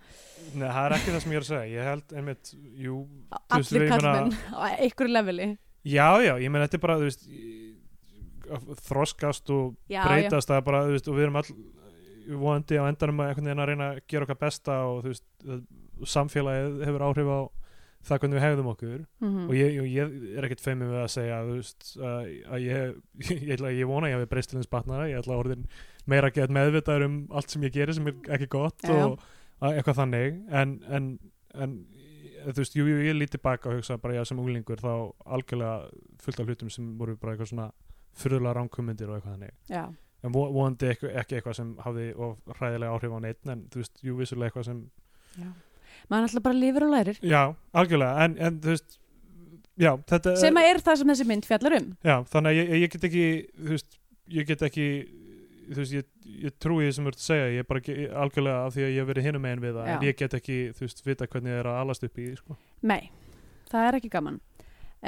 Nei, það er ekki það sem ég er að segja. Ég held, einmitt, jú, Þú veist, ég
allir
meina-
kallmenn á einhverju leveli
já, já, ég menn, þetta er bara, þú veist, í- að þroskast og
já, já,
breytast, það er bara, þú veist, og við erum all vonandi á endanum að einhvern veginn að reyna að gera okkar besta og, þú veist, það- samfélagið hefur áhrif á það hvernig við hegðum okkur
mhm,
og ég, ég, ég er ekkert feimið við að segja, þú veist, að, að ég, ég, ætla, ég vona að ég hafi breyst til eins batnara, ég ætla orðin meira að geta meðvitaður um allt sem ég geri sem er ekki gott
Já, já.
og að, eitthvað þannig en, en, en eh, þú veist, jú, jú, ég líti baka og hugsa bara já, sem unglingur þá algjörlega fullt af hlutum sem voru bara eitthvað svona furðulega ránkumundir og eitthvað þannig
já,
en vo- vonandi ekki, ekki eitthvað sem hafði of hræðilega áhrif á neitt en þú veist, jú, vissulega eitthvað sem
já maður alltaf bara lifir og lærir
já, algjörlega, en, en þú veist já, þetta
sem að er það sem þessi mynd fjallar um
Já, þannig að ég, ég get ekki þú veist, ég get ekki þú veist, ég, ég trúi því sem þú ert að segja ég er bara ekki algjörlega af því að ég hef verið hinum megin við það, en
Já.
ég get ekki, þú veist, vita hvernig það er að alast upp í, því, sko.
Nei, það er ekki gaman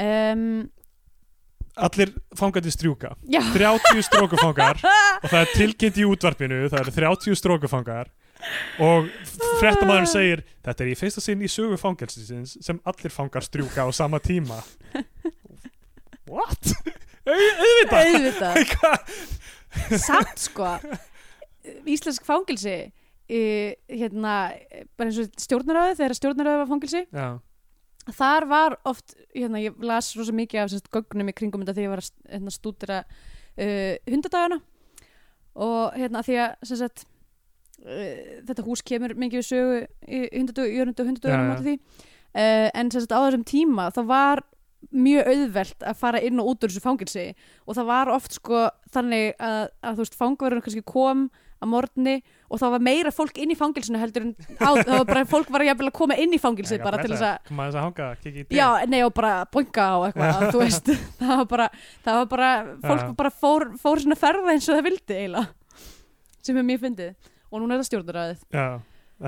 um,
Allir fangandi strjúka
Já,
30 strókufangar og það er tilkynnt í útvarpinu, það eru 30 strókufangar og fréttamaður segir þetta er í fyrsta sinn í sögu fangelsins sem allir fangar strjúka á sama tíma what? Au- auðvitað
auðvitað samt sko íslensk fangilsi uh, hérna, bara eins og stjórnaráði þegar stjórnaráði var fangilsi
já,
þar var oft, hérna, ég las rosa mikið af sérst, gögnum í kringum þetta þegar ég var að st- hérna, stúdera uh, hundadagana og hérna því að sem sagt, uh, þetta hús kemur mikið við sögu í hundadög, í örundu
Já,
hundadögunum
já.
átti því uh, en sem sagt, á þessum tíma þá var mjög auðvelt að fara inn og út úr þessu fangilsi og það var oft sko þannig að, að þú veist fangverðurinn kannski kom að morgni og það var meira fólk inn í fangilsinu heldur en á, það var bara fólk var jafnvel að koma inn í fangilsið bara til þess að
koma þess að hanga, kikið í dyr.
Já, nei og bara boinga á eitthvað, þú veist, það var bara, það var bara, fólk
Já.
bara fór, fór svona ferða eins og það vildi eiginlega, sem er mjög fyndið. Og núna er það stjórnaræðið.
Já,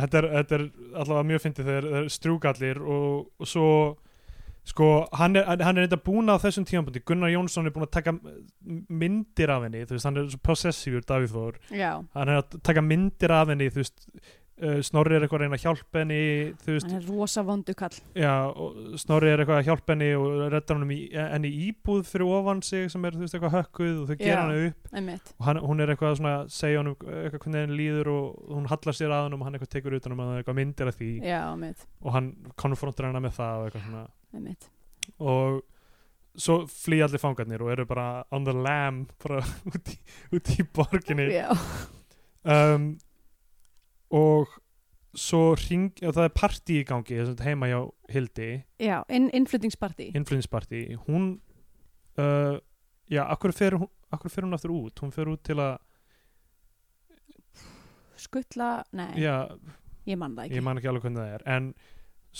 þetta er, þetta er allavega mjög fyndið þegar það er strúkallir og, og svo sko, hann er, hann er eitthvað búin á þessum tímapunkti Gunnar Jónsson er búin að taka m- myndir af henni, þú veist, hann er svo possessífur Davíð Þór,
Já,
hann er að taka myndir af henni, þú veist uh, Snorri er eitthvað að reyna að hjálpa henni þú veist,
hann er rosa vondu kall.
já, og Snorri er eitthvað að hjálpa henni og reddar honum í, henni íbúð fyrir ofan sig sem er, þú veist, eitthvað hökkuð og þau
Já.
gera henni upp
Einmitt.
og hann, hún er eitthvað svona að segja honum eitthvað hvernig henni líður og hún hallar sér að hann og hann eitthvað tekur utan um hann eitthvað myndir af því
Já, einmitt,
og hann konfrontar hana með það og eitthvað svona
einmitt.
og svo flýja allir fangarnir og eru bara on the lam bara út í, út í borginni
Já,
um, og svo ring, ja, það er partí í gangi sem sagt heima hjá Hildi
já, inn, innflutningsparti.
innflynspartí, hún uh, já, akkur fer, hún- af hverju fer hún aftur út, hún fer út til að
Skuttla, nei,
já,
ég man það
ég
ekki.
man ekki alveg hvernig það er en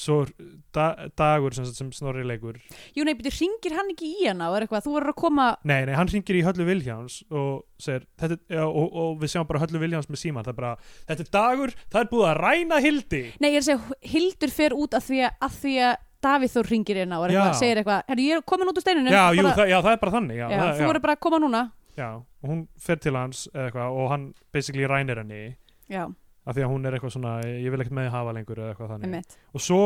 svo er da, dagur sem, sagt sem snorri leikur
Jú, nei, betur, ringir hann ekki í hana og er eitthvað, þú verður að koma,
nei, nei, hann ringir í Höllu Viljáns og segir, þetta, er- já, og, og við sjáum bara Höllu Viljáns með síman, það er bara, þetta er dagur það er búið að ræna hildi
nei, ég er að segja, Hildur fer út að því að, að, því að Davíð Þór ringir hérna og er eitthvað,
Já.
segir eitthvað, herru, ég er komin út úr steinunum.
já, jú,
bara-
það, já, það er bara þannig já,
Já,
það,
þú verður bara að koma núna.
já, og hún fer til hans eða eitthvað, og hann basically rænir henni
Já,
af því að hún er eitthvað svona, ég vil ekkert með þig hafa lengur eða eitthvað þannig,
einmitt,
og svo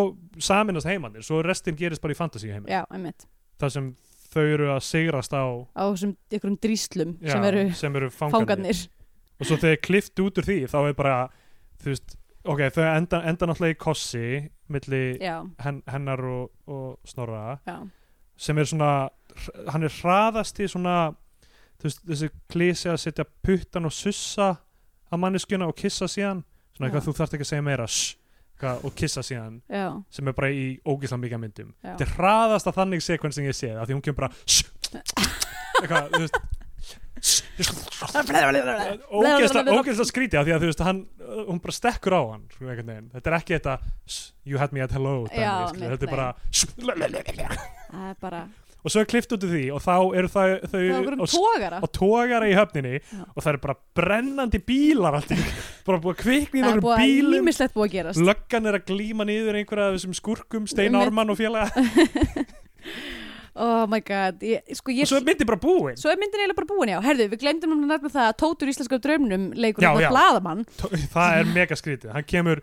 saminast heimandir, svo restin gerist bara í fantasy heimandir,
já, einmitt
þar sem þau eru að sigrast á
á þessum ykkurum dríslum
já,
sem eru
sem eru fangarnir.
fangarnir
og svo þegar klift út úr því þá er bara þú veist, ok, þau enda, enda náttúrulega í kossi milli
já,
hen, hennar og, og snorra
já,
sem er svona, hann er hraðasti svona, þú veist, þessi klísi að setja puttan og sussa að manneskjuna og kissa síðan svona
Já.
eitthvað þú þarft ekki að segja meira shh, eitthvað, og kissa síðan
já,
sem er bara í ógislega mikið af myndum
Já.
þetta er hraðasta þannig sekvens sem ég séð af því hún kemur bara shh, eitthvað, þú veist ógeðslega skrítið af því að þú veist hann, uh, hún bara stekkur á hann sko, einhvern veginn. þetta er ekki þetta "S- you had me at hello dæmi,
Já,
skilur.
mitt,
þetta er bara "S-"
það er bara
og svo er klift út úr því og þá eru þau, þau
það er okkur
á
um
s-
tógara
á tógara í höfninni
Já.
og það eru bara brennandi bílar allt í bara búið að kvikna í
það er
nokkur
búið að
bílum
ímislegt búið að gerast
löggan er að glíma niður einhverja af þessum skúrkum Steina
Einmitt.
Orman og félaga
oh my god, ég, sko
og
ég
svo er myndi bara búin
svo er myndin eiginlega bara búin já, herðu, við glemdum um nærmið það að Tótur íslenska draumnum leikur
Já, já.
þetta blaðamann
Tó- það er mega skrítið hann kemur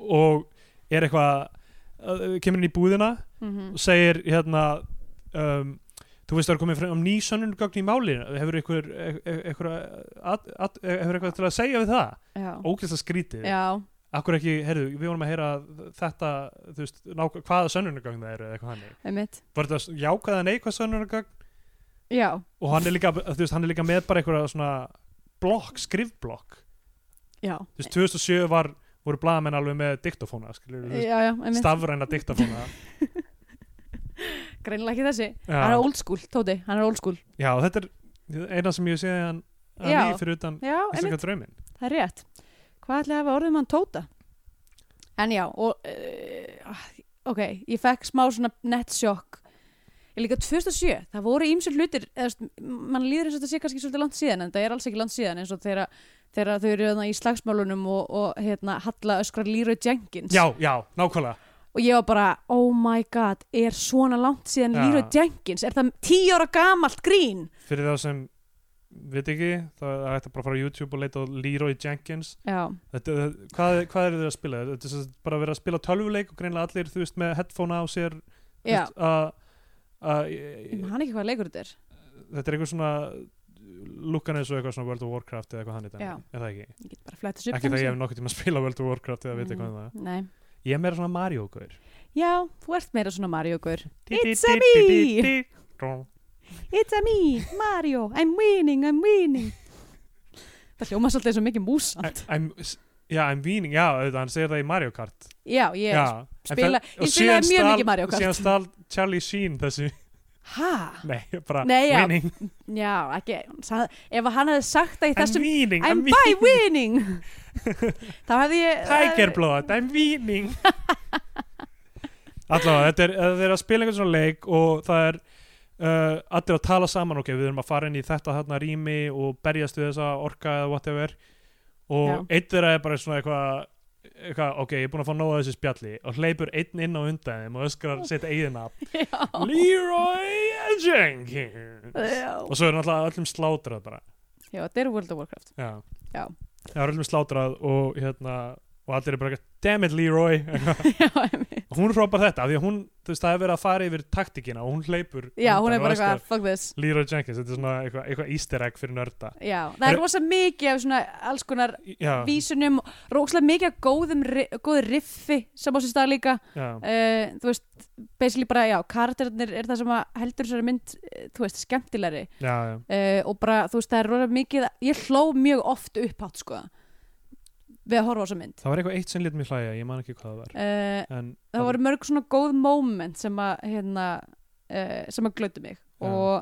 og er eitthvað uh, kemur inn í búðina
Mhm.
og segir hérna um, þú veist það er komið fram ný sönnungögn í málinu hefur e, ykkur, ykkur, ykkur hefur eitthvað til að segja við það
já,
ógæsla skrítið,
já,
akkur ekki heyrðu, við vorum að heyra þetta þú veist, ná, hvaða sönnungögn það eru eða eitthvað hannig,
einmitt
var þetta jákvæða neikvæð sönnungögn
já,
og hann er líka, þú veist, hann er líka með bara eitthvað svona blokk, skrifblokk
já,
þú veist, 2007 var voru blaðamenn alveg með diktafóna skilur, þú veist,
já, já, einmitt
stafræna diktafóna
greinilega ekki þessi, hann
já,
er old school, Tóti hann er old school,
já, þetta er eina sem ég sé að hann
Já.
að ný fyrir utan
já, einmitt
Íslenska drauminn
Það er rétt. Hvað ætlaði að hafa orðið mann tóta? En já, og uh, ok, ég fekk smá svona nett sjokk. Ég líka 2007, það voru ímsum hlutir, eða þú veist, mann líður eins og þetta sé kannski svolítið langt síðan, en það er alls ekki langt síðan eins og þegar þegar þau eru þarna í slagsmálunum og, og hérna, Halla öskrar Leroy Jenkins
Já, já, nákvæmlega
og ég var bara, oh my god er svona langt síðan
Já.
Leroy Jenkins er það tíu ára gamalt grín
Fyrir þá sem veit ekki, það er hægt að bara fara á YouTube og leita á Leroy Jenkins
já,
þetta, það- hvað, er- hvað eru þeir að spila? Þetta er sem sagt bara að vera að spila tölvuleik og greinlega allir, þú veist, með headphone á sér þú
já.
veist, að að- e,
Ég man ekki hvað leikur þetta er
þetta er eitthvað svona lukkan eins og eitthvað svona World of Warcraft eða eitthvað hann í
Já.
dag, er það ekki?
ég get bara flett þessu upp
Ekki það
þannig
ég
séð.
hef nokkuð tíma að spila World of Warcraft eða veit
Mm,
eitthvað um það
Nei.
Ég er meira svona Mario-gaur
Já, þú ert meira svona Mario-gaur It's a me! It's a me, Mario, I'm winning, I'm winning Það hljóma svolítið eins og mikið músand
I- I'm, s- já, I'm winning, já, auðvitað, hann segir það í Mario Kart
Já, ég
Já, en
spila-
það-
ég
og
spilaði
síðan
mjög
stal-
mikið Mario Kart.
Síðan stal Charlie Sheen þessu
Ha?
Nei, bara
Nei, já.
winning
Já, ekki sað, Ef hann hefði sagt það í
I'm
þessum
winning,
I'm
I'm
by
winning
winning Þá hefði ég eh,
Tiger blood, I'm winning Allavega, þetta er, þetta er að spila einhvern svona leik og það er uh, allir að tala saman, ok, við erum að fara inn í þetta þarna rými og berjast við þessa orka eða whatever og
Já.
eitt þeirra er bara svona eitthvað eitthvað, ok, ég er búin að fá nóga þessu spjalli og hleypur einn inn á undan þeim og öskrar setja eigin nafn
Já,
Leroy Jenkins
já.
og svo er náttúrulega öllum slátrað bara
já þetta er World of Warcraft
Já.
Já.
Það er öllum slátrað og hérna og allir er bara eitthvað, damn it Leroy
Já, einmitt.
og hún hrópar þetta af því að hún, þú veist, það er verið að fara yfir taktikina og hún hleypur
já hún
undan
er
og
bara
öskrar,
eitthvað Fuck this
Leroy Jenkins, þetta er svona eitthvað, eitthvað easter egg fyrir nörda
Já, það er
Er-
rosa mikið af svona alls konar
Já,
vísunum rosalega mikið af góðum ri- góðu riffi sem á sér stað líka
já,
uh, þú veist, basically bara já, karakterinir er það sem að heldur þessari mynd, eh, þú veist, skemmtilegri
já, já.
uh, og bara, þú veist, það er rosa mikið ég hló mjög oft upphátt, sko við að horfa á þessa mynd uh,
Það var eitthvað eitt sem lét mér hlæja, ég man ekki hvað það var en,
það voru mörg svona góð moment sem að, hérna uh, sem að glötu mig
Já.
og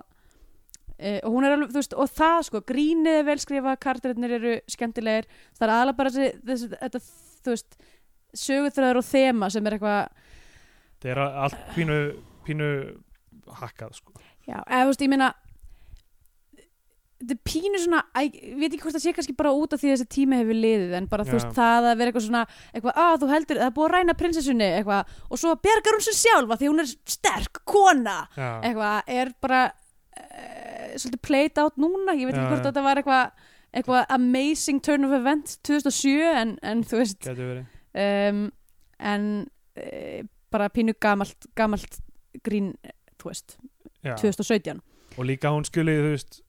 Uh, og hún er alveg, þú veist, og það sko grínið er vel skrifa, karakterinir eru skemmtilegir, það er aðalega bara þessi, þessi þetta, þú veist, söguþröður og þema sem er eitthvað
það er allt pínu, pínu hakkað, sko
Já, eða þú veist, ég meina þetta er pínu svona æ, ég veit ekki hvort það sé kannski bara út af því að þessi tími hefur liðið en bara þú veist
Já.
það að vera eitthvað svona eitthvað að þú heldur, það er búið að ræna prinsessunni eitthvað og svo bergar hún sér sjálfa því hún er sterk kona
Já,
eitthvað er bara e, svolítið played out núna ég veit ekki
Já,
hvort
já.
þetta var eitthvað eitthvað amazing turn of event 2007 en, en þú veist
getur verið
um, en e, bara pínu gamalt, gamalt grín, eh, þú veist,
Já.
2017
og líka að hún skuli þú veist,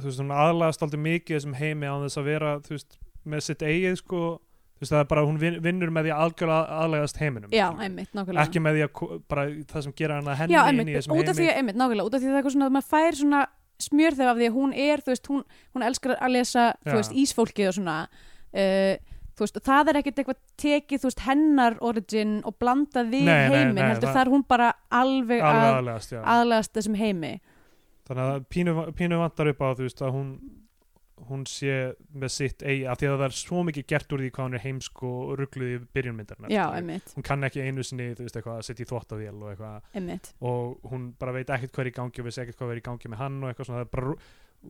þú veist hún aðlagast aldrei mikið þessum heimi án þess að vera þú veist, með sitt eigið sko þú veist það er bara hún vin- vinnur með því að algjörlega aðlagast heiminum
Já,
skilurðu.
einmitt, nákvæmlega
ekki með því að ko- bara það sem gera hana henni
Já,
inn í
einmitt,
þessum
út af því
heimi
að, einmitt, nákvæmlega út af því að það er eitthvað svona að maður fær svona smjör þegar af því að hún er, þú veist, hún, hún elskar að lesa, þú
Já.
veist, ísfólkið og svona uh, þú veist, það er ekkit eitthvað tekið, þú veist, hennar origin og blandað við
Nei, nei,
heiminn,
nei,
heldur
það-
það er hún bara alveg
alveg
að
aðlagast, já
aðlast þessum heimi
þannig að pínu, pínu vantar upp á þú veist að hún hún sé með sitt eigið af því að það er svo mikið gert úr því hvað hún er heimsk og ruggluð í byrjunmyndarna
Já, einmitt,
hún kann ekki einu sinni, þú veist, eitthvað að setja í þvóttavél og eitthvað
einmitt
og hún bara veit ekkert hvað er í gangi og vissi ekkert hvað er í gangi með hann og eitthvað svona það er bara,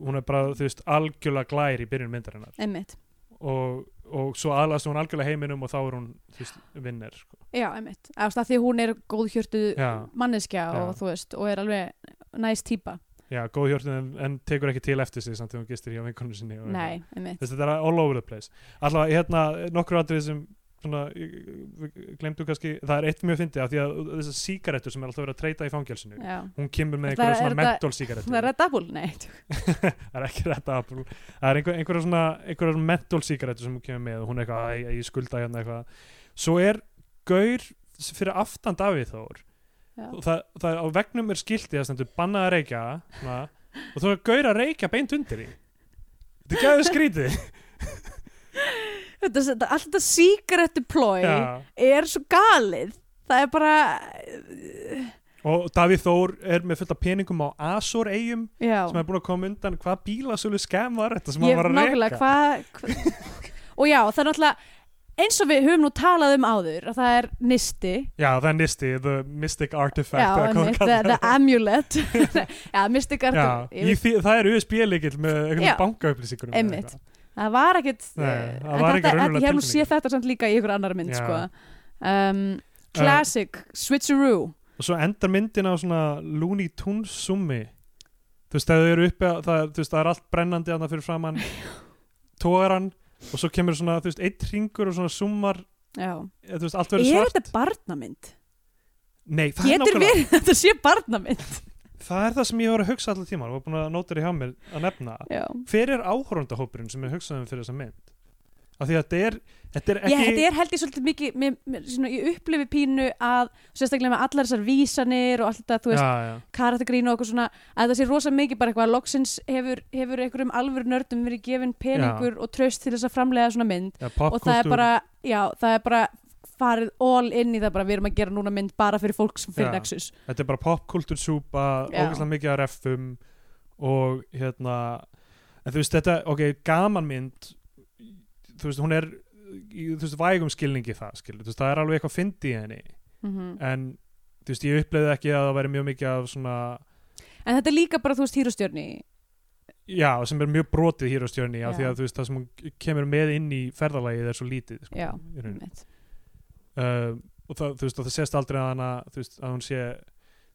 hún er bara, þú veist, algjörlega glær í byrjun myndarinnar
einmitt,
og, og svo aðlast hún algjörlega heiminum og þá er hún, þú veist, vinnir sko.
já, einmitt Eða, þú veist, af því að hún er góðhjörtu
Já.
manneskja og
Já.
þú veist, og er alveg næst típa,
já, góð hjörtun en, en tekur ekki til eftir sig samt þegar hún gistir hjá vinkonu sinni og
nei, einmitt
þess þetta er all over the place allavega, hérna, nokkur atrið sem svona, glemdu kannski það er eitt mjög fyndið af því að þessar sígarettur sem er alltaf verið að treyta í fangelsinu
Já,
hún kemur með
Er það-
einhverja
er
svona
það-
mentól
það er
sígarettur
að dabul, nei
það er ekki rétt Apple það er einhver, einhverja svona einhverjar mental sígarettu sem hún kemur með og hún er eitthvað, "Æ, ég, ég skulda hérna eitthvað svo er gaur s- fyrir aftan Davíð Þór
Já.
og það, það er á vegnum er skiltið að stendur bannað að reykja svona, og þú er gaur að reykja beint undir í þetta er gæðu skrítið
þetta, þetta, allt þetta sígarettuplói
Já.
er svo galið það er bara
og Davíð Þór er með fullt af peningum á Azor eigum
já,
sem er búin að koma undan hvað bílasölu skem var þetta sem
ég
hann var að
nákvæmlega
reyka
hva, hva, og já, það er náttúrulega eins og við höfum nú talað um áður að það er nisti
já það er nisti, the mystic artifact
já,
eða hvað hún
einmitt,
kallar
the, the amulet já, mystic art
Já,
ég
í
veit-
því, það er USB-líkil með
Já.
einhvern bankaupplýsingunum
Einmitt. það var ekkit
Nei,
eh,
það
en
var ekki
þetta,
raunveruleg
ég hef nú
tilfinning.
séð þetta samt líka í ykkur annar mynd
Já.
sko. um, classic, switcheroo
og svo endar myndin á svona Looney Tunes summi þú veist, þegar þau eru uppi á- það, þú veist, það er allt brennandi að það fyrir framann tógaran og svo kemur svona, þú veist, eitt ringur og svona summar,
já.
eða, þú veist, allt
er
verður svart
þetta barnamynd?
Nei, það er
getur
nákvæmlega
verið að þetta sé barnamynd?
það er það sem ég var að hugsa allir tíma og var búin að nóta þér hjá mér að nefna
já.
hver er áhórundahópurinn sem er hugsaðum fyrir þessa mynd af því að þetta er, þetta er
Ég,
ekki
þetta er held ég svolítið mikið mér, mér, svona, ég upplifi pínu að sérstaklega með allar þessar vísanir og allt þetta, þú veist,
já, já.
karatagrín og okkur svona að það sé rosa mikið bara eitthvað að loksins hefur, hefur einhverjum alvöru nördum verið gefin peningur og tröst til þess að framlega svona mynd
Já,
og það er
popkúltúr.
bara, já, það er bara farið all in í það bara við erum að gera núna mynd bara fyrir fólk sem fyrir
Já.
Nexus
þetta er bara popkultursúpa
Já.
ógæslega mikið að reffum og hérna en þú veist þetta, ok, gaman mynd þú veist, hún er í, þú veist, vægum skilningi það skilur, þú veist, það er alveg eitthvað fyndi í henni
mm
en þú veist, ég uppleiði ekki að það væri mjög mikið af svona,
en þetta er líka bara, þú veist, hýrustjörni
já, sem er mjög brotið hér á stjörni, af
Já.
því að þú veist, það sem hún kemur með inn í ferðalagið er svo lítið sko,
Já,
í rauninni. uh, og það, þú veist, og það sést aldrei að hana þú veist, að hún sé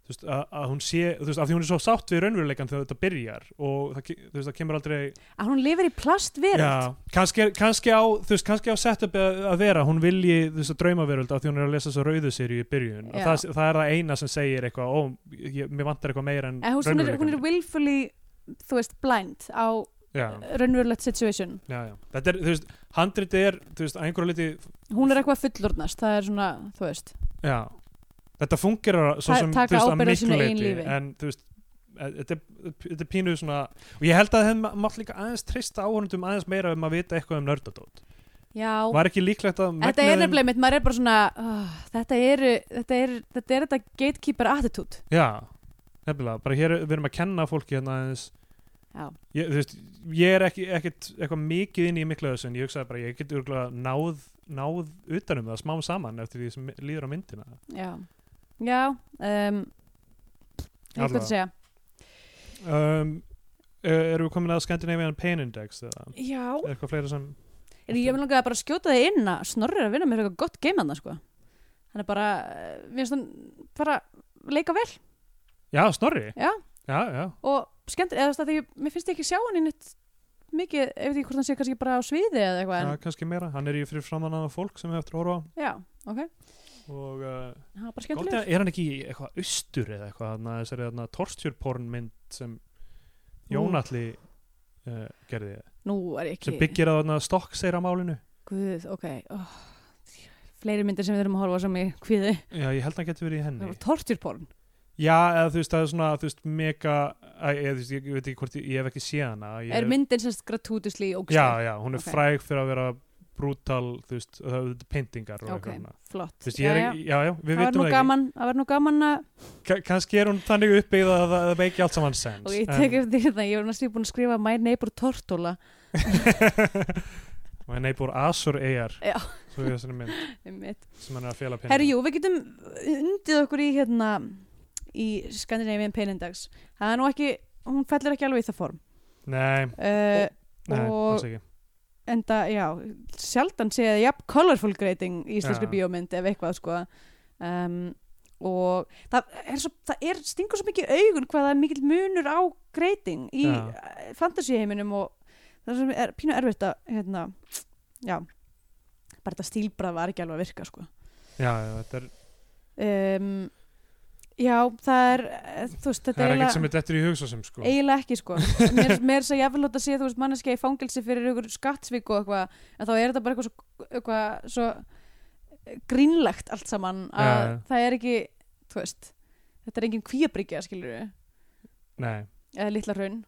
þú veist, að, að hún sé, þú veist, af því hún er svo sátt við raunveruleikan þegar þetta byrjar og það, ke- þú veist, það kemur aldrei
að hún lifir í plastveröld
Já, kannski, kannski á, þú veist, kannski á setup e, að, að vera, hún vilji þú veist, draumaveröld af því hún er að lesa þessa rauðu sirju í byrjun og
Já.
það, það er það eina sem segir eitthvað, ó, ég, mér vantar eitthvað meira en
en hún, hún, er, hún er
raunveruleikann."
willfully þú veist, blind á
já,
raunverulegt situation
já, já, þetta er, þú veist, handrit er, þú veist, að einhverju liti
hún er eitthvað fullornast, það er svona, þú veist
Já, þetta fungerar svo
Ta-
sem,
taka
þú veist, að
ábyrgð á
miklu
sínu
leyti,
eigin lífi.
en þú veist e- þetta er, þetta er pínu svona og ég held að þeim mátt líka aðeins treysta áhörnundum aðeins meira um að vita eitthvað um nördadót
já,
var ekki líklegt að
þetta er
megnuðum-
nefnilega mitt, maður er bara svona oh, þetta eru, þetta er þetta er þetta gatekeeper attitude
já, nefnilega, bara hér við erum að kenna fólki hérna aðeins
já,
ég, þú veist, ég er ekki, ekkit eitthvað mikið inn í miklu af þessu en ég hugsaði bara ég get örgulega náð, náð utanum það smám saman eftir því sem líður á myndina
já, já um,
Allavega.
eitthvað að segja
um, erum við komin að Scandinavian Pain Index eða
já,
Er eitthvað fleira sem
er ég vil langaði bara að skjóta það inn að snorri er að vinna með eitthvað gott game hann sko. hann er bara, eh, mér finnst hann bara leika vel
Já, Snorri?
Já.
Já, já,
og skemmt, eða þess að því, mér finnst ég ekki sjá hann í nýtt mikið, ef ekki hvort hann sé kannski bara á sviði eða eitthvað,
já
en,
kannski meira Hann er í fyrir framann aðan fólk sem við eftir að horfa á
já, ok
og uh,
hann er bara
gott
skemmtilegur
er er hann ekki í eitthvað austur eða eitthvað þarna, þessari þarna torstjörporn mynd sem Jónalli uh, gerði
nú er ég
sem
ekki,
byggir að þarna stokkseira málinu
guð, ok oh. fleiri myndir sem við erum að horfa á sem ég kviði,
Já, ég held að hann getur verið í
það
henni
var torturporn
Já, eða þú veist, það er svona, þú veist, mega Æ, ég, þú veist, ég, veit ekki hvort, ég, ég hef ekki séð hana ég,
er myndin sérst gratútisli og
Já, já, hún er
Ok.
fræg fyrir að vera brútal, þú veist, og það eru pyntingar og
ok,
eitthvað hana
flott
Þú veist, ég er,
Jæja.
ekki- já, já, við
það var
vitum
nú
það ekki
gaman, það var nú gaman að
Ka- kannski er hún þannig uppbyggð að það, það veiki allt saman sens
og ég tek
en-
eftir það, ég var næstu búin að skrifa my neighbor tortola
og henni búr Asur Eyjar
Já.
svo er þessari mynd
herru,
sem hann er að fjela pinna
jú, við getum undið okkur í hérna í Skandinavian Peinindags það er nú ekki, hún fellur ekki alveg í það form
nei,
uh,
nei,
Og-
alls ekki
en það, já, sjaldan sé það jafn colorful grading í íslenskri
Já.
bíómynd ef eitthvað sko um, og það er, svo, það er stingur svo mikið í augun hvað það er mikill munur á grading í
Já.
ja. fantasy heiminum og það sem er pínu erfitt að hérna, já bara þetta stílbrað var ekki alveg að virka sko
já, já, þetta er,
um, já, það er eh, þú veist,
það
þetta
er
eiginlega-
ekkert sem er dettur í hugsa sem sko
eiginlega ekki sko mér, mér er svo jafnvel hótt að sé þú veist manneskja í fangelsi fyrir ykkur skattsvík og eitthvað en þá er þetta bara eitthvað svo, eitthvað svo grínlegt allt saman að
Já, já.
það er ekki þú veist, þetta er engin kvíabryggja skilur við,
nei,
eða litla raun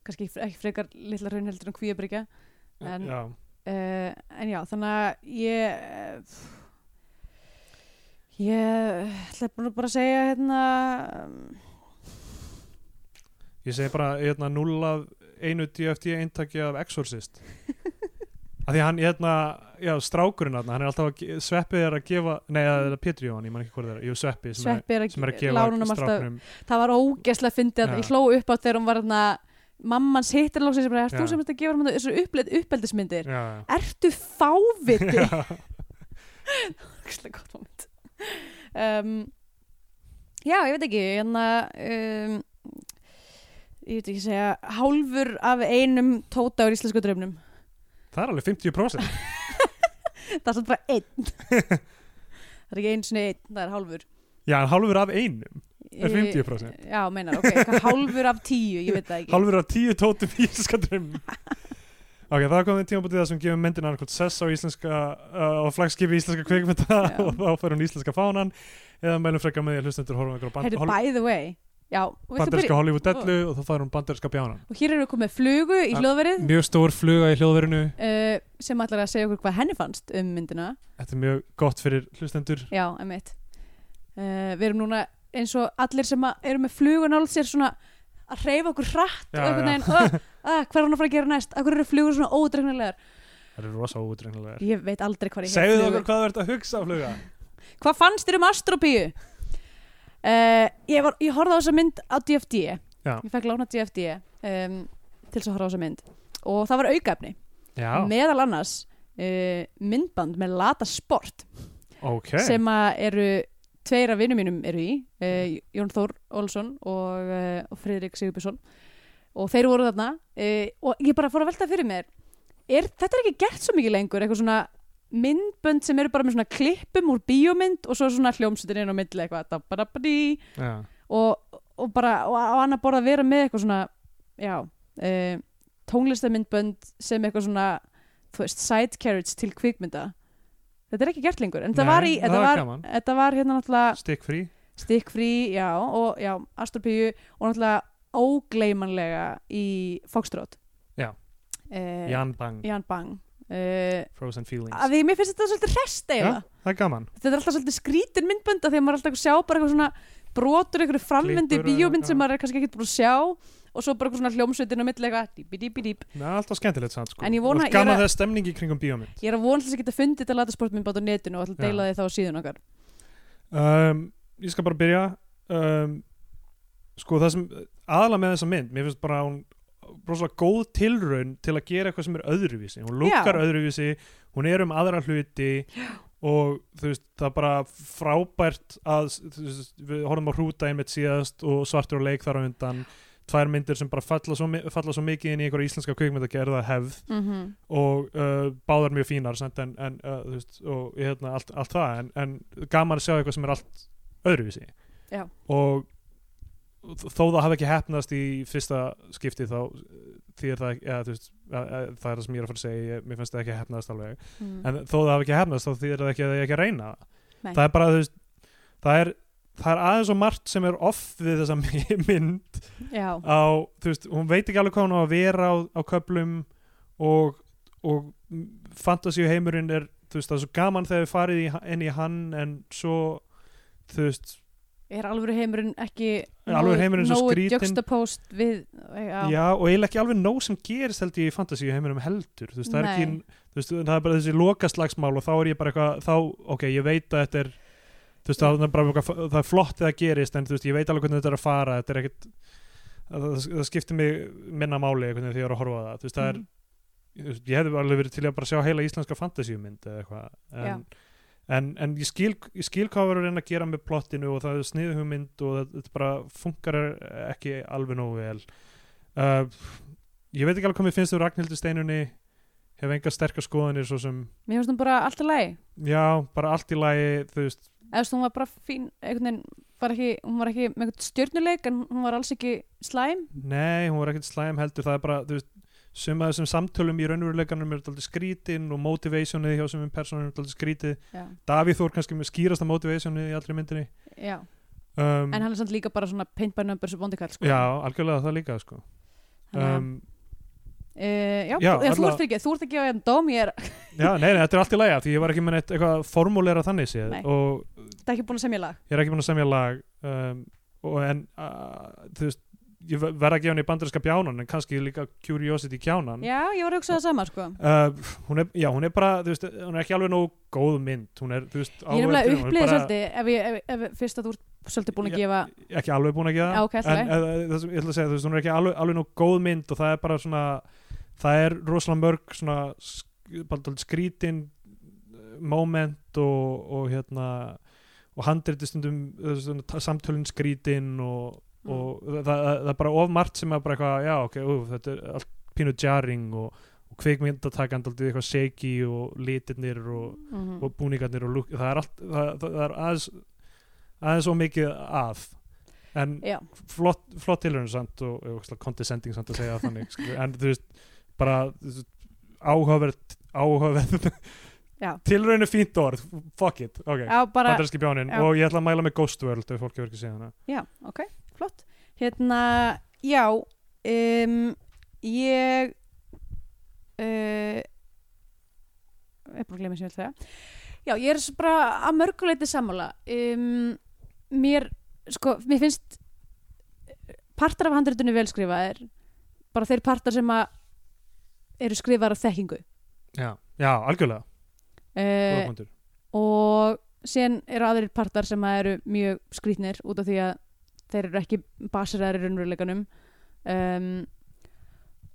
kannski ekki fre- ekki frekar litla raun heldur en kvíabryggja En-
já,
uh, en já, þannig að ég ég ætla bara bara að segja hérna um,
ég segi bara hérna, 0 af einu DFT eintaki af Exorcist af því hann, hérna, já, strákurinn þarna, hann er alltaf að, ge- sveppið er að gefa nei, það er Pétur Jóhann, ég man ekki hvort það er jú, sveppi sem,
sveppi er
er, sem er að
að, að
gefa
lánunum alltaf
stráknum
það var ógeðslega fyndið að
Já.
ég hló upp á þegar hún var hérna mammans hittir lóksins sem bara, er þú
Já.
sem þetta gefur hann þessu uppleitt uppeldismyndir?
já, já
Ertu fáviti? Ógeðslega gott moment. Um, já, ég veit ekki, hérna um, ég veit ekki segja, hálfur af einum tóta úr íslensku draumnum
það er alveg 50%
það er samt bara einn það er ekki einn sinni einn, það er hálfur
já, en hálfur af einum, er 50%.
Eh, já, meinar, ok, hvað, hálfur af tíu, ég veit það ekki
hálfur af 10 tótum í íslenska draum ok, það komið tímabútið það sem gefur myndin annarkot sess á íslenska uh, á flagskipi íslenska kvikmynda
Já.
og þá fer hún íslenska fánan eða mælum frekar með því að hlustendur horfum ykkur á band,
Heyrðu,
hol,
by the way já, og, viltu
banderska
byrja-
Hollywood dellu og þá fær hún banderska bjánan
og hér eru komið flugu í
Ja.
hljóðverið
mjög stór fluga í hljóðverinu
uh, sem ætlar að segja okkur hvað henni fannst um myndina
þetta er mjög gott fyrir hlustendur
já, emitt uh, við erum núna eins og allir sem að- eru með flugun nált sér svona að reyfa okkur hratt
Já,
og einhvern
já.
veginn, uh, uh, hvað er hann að fara að gera næst akkur eru flugur svona ódregnarlegar
það eru rosa óutrengilegar
ég veit aldrei hvað ég hef
segðu
hérna flugu.
okkur hvað þú ert að hugsa fluga
hvað fannst þér um Astropíu? Uh, ég, var, ég horfði á þessa mynd á DFD
Já.
ég fekk lána DFD um, til þess að horfa á þessa mynd og það var aukaefni
já,
meðal annars uh, myndband með Lata Sport
ok
sem að eru tveir af vinnum mínum eru í uh, Jón Þór Olsson og, uh, og Friðrik Sigurbjörnsson og þeir voru þarna uh, og ég bara fór að velta fyrir mér er, þetta er ekki gert svo mikið lengur eitthvað svona myndbönd sem eru bara með svona klippum úr bíómynd og svo er svona hljómsutin inn á milli eitthvað dabadabadí,
já.
og, og bara og á annar borð að vera með eitthvað svona já, uh, tónlistamyndbönd sem eitthvað svona þú veist, side carriage til kvikmynda þetta er ekki gert lengur en þetta
Nei,
var, í,
það
þetta,
var
var,
gaman.
þetta var hérna náttúrulega
stikk frí
stikkfrí, já, og já, Astropíu og náttúrulega ógleymanlega í Foxtrot
Já.
Eh,
Jan Bang,
Jan Bang uh,
Frozen Feelings
að því mér finnst þetta svolítið hrest
já,
eiginlega
það er gaman
þetta er alltaf svolítið skrítin myndbönd af því að maður er alltaf að sjá bara eitthvað svona brotur einhverju framvindi
Klippur og-
bíómynd sem
já.
maður er kannski ekkert búin að sjá og svo bara eitthvað svona hljómsveitin á milli eitthvað dýpi dýpi dýp
það er alltaf skemmtilegt samt sko
En ég vona-
og gaman
ég er að-
þegar stemningi kringum bíómynd
ég er að vonlega að geta fundið þetta latasportmyndbönd á netinu og ætla að deila því þá á síðun okkar
um, ég skal bara byrja um, sko það sem aðalega með þessa mynd, mér finnst bara hún rosalega góð tilraun til að gera eitthvað sem er öðruvísi, hún lukkar
Já.
öðruvísi hún er um aðra hluti og þú veist, það er bara frábært að, þú veist, við horfum á hrúta einmitt síðast og svartur og leik þar á undan tvær myndir sem bara falla svo, mi- falla svo mikið inn í einhverja íslenska kvikmyndagerða hefð
mm -hmm.
og uh, báðar mjög fínar samt, en, en, uh, þú veist, og hérna, allt, allt það en, en gaman að sjá eitthvað sem er allt öðruvísi
Já.
og þó það hafi ekki heppnast í fyrsta skipti þá því er það, ja, veist, að, að, það er það sem ég er að fara að segja ég, mér finnst það ekki heppnast alveg
mm.
en þó það hafi ekki hefnast þá þýðir það ekki að það er ekki að reyna
Nei.
það það er bara þú veist það er, það er aðeins og margt sem er off við þessa my- mynd
já,
á, þú veist, hún veit ekki alveg hvað hún á að vera á, á köplum og, og fantasíu heimurinn er þú veist, það er svo gaman þegar við farið í, inn í hann en svo þú veist,
er alvöru heimurinn ekki
Er alvöru heimurinn svo skrýtinn?
juxtapost við já,
já, og eiginlega ekki alveg nóg sem gerist held ég í fantasíu heimurum heldur þú veist, það er
Nei.
ekki, þú veist, það er bara þessi lokaslagsmál og þá er ég bara eitthvað, þá ok, ég veit að þetta er þú veist, það er bara eitthvað, það er flott þegar það gerist en þú veist, ég veit alveg hvernig þetta er að fara þetta er ekkit, það, það, það skiptir mig minna máli einhvern veginn þegar ég er að horfa á það þú veist, það er,
Mhm.
þú veist, ég hefði alveg verið til í að bara sjá heila íslenska fantasíumynd eða eitthvað en, en, en ég, skil, ég skil hvað verður að reyna að gera með plottinu og það er sniðhugmynd og það, þetta bara funkar ekki alveg nógu vel uh, ég veit ekki alveg hvað mér finnst um Ragnhildur Steinunni hef enga sterkar skoðanir svo sem
mér finnst hún bara alltaf læg
já, bara allt í lagi þú veist,
eða þú veist, hún var bara fín einhvern veginn var ekki, hún var ekki með einhvern stjörnuleik en hún var alls ekki slæm
nei, hún var ekkert slæm heldur það er bara, þú veist sem að þessum samtölum í raunveruleikanum er daldið skrítin og motivationið hjá sem personum er daldið skrítið
já,
Davíð Þór kannski með skýrasta motivationið í allri myndinni
já.
um,
en hann er samt líka bara svona paint by numbers vondikall sko.
Já, algjörlega það líka sko.
Þannig að-
um,
Uh, já,
Já,
já, þú,
alla-
ert ekki, þú ert ekki á enn dóm ég er,
Já, nei, nei, þetta er allt í lagi af því ég var ekki með neitt eitthvað formúleira þannig séð
Nei.
og
það er ekki búin að semja lag
ég er ekki búin að semja lag um, og en uh, þú veist, ég ver- verð að gefa henni bandarinska bjánan en kannski líka Curiosity kjánan
já, ég var að hugsa það sama sko.
Uh, hún er, já, hún er bara, þú veist, hún er ekki alveg nógu góð mynd, hún er, þú veist,
ég er nefnilega
áverðin, hún
upplýðið
bara
svolítið ef, ég- ef, ef, fyrst að þú ert svolítið búin að
Já.
gefa
ekki alveg búin að gera
Já, ok, allt í
en uh, það sem ég ætla að segja, þú veist, hún er ekki alveg, alveg nógu góð mynd og það er bara svona það er rosalega mörg svona sk- bara dálítið skrítin eh, moment og, og hérna og handriti stundum eh, svona, ta- samtölin skrítin og
Mm.
og það, það, það er bara of margt sem er bara eitthvað, já ok, ú, þetta er allt pínu jarring og, og kvikmyndatakand aldrei eitthvað segi og litirnir og,
Mhm.
og búningarnir og lúk, það er allt, það, það, það er aðeins aðeins of mikið að en
Já,
flott, flott tilhörun samt og, og ógeðslega condescending samt að segja það þannig, skilur, en þú veist bara þú veist, áhugaverð áhugaverð
Já.
tilraun er fínt orð, fuck it ok,
já bara,
bandarinski bjáninn
já.
og ég ætla að mæla með Ghost World ef fólk hefur ekki séð hana
já, ok, flott Hérna, já um, Ég uh, Ég er bara að glemja sem ég vil þegar Já, ég er svo bara að mörguleiti sammála um, Mér, sko, mér finnst partar af handritunni velskrifaðir bara þeir partar sem að eru skrifaðar af þekkingu
já, já algjörlega,
uh,
góða punktur
og síðan eru aðrir partar sem að eru mjög skrýtnir út af því að þeir eru ekki basiraðar í raunveruleikanum um,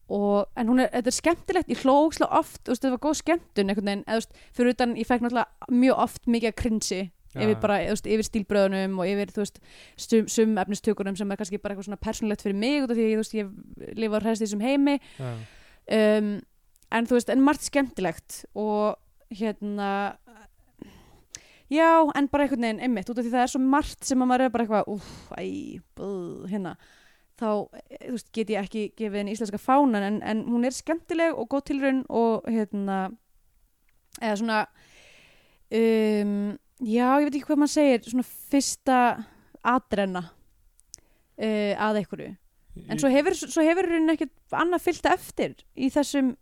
og, en hún er, þetta er skemmtilegt ég hló ógeðslega oft, þú veist, þetta var góð skemmtun einhvern veginn, eða þú veist, fyrir utan ég fekk náttúrulega mjög oft mikið að krinsi yfir bara, þú veist, yfir stílbröðunum og yfir, þú veist, sum, sum efnistökunum sem er kannski bara eitthvað svona persónlegt fyrir mig út af því, að ég, þú veist, ég lifa á hræðst því sem heimi
já,
um, en þú veist, en margt skemmtilegt og hérna já, en bara einhvern veginn einmitt, út af því það er svo margt sem að maður er bara eitthvað, úff, æ, bú, hérna þá, eh, þú veist, get ég ekki gefið henni íslenska fánan, en, en hún er skemmtileg og góð tilraun og hérna eða svona um, já, ég veit ekki hvað maður segir svona fyrsta atrenna uh, að einhverju En svo hefur, svo hefur hún ekkert annað fyllt eftir í þessum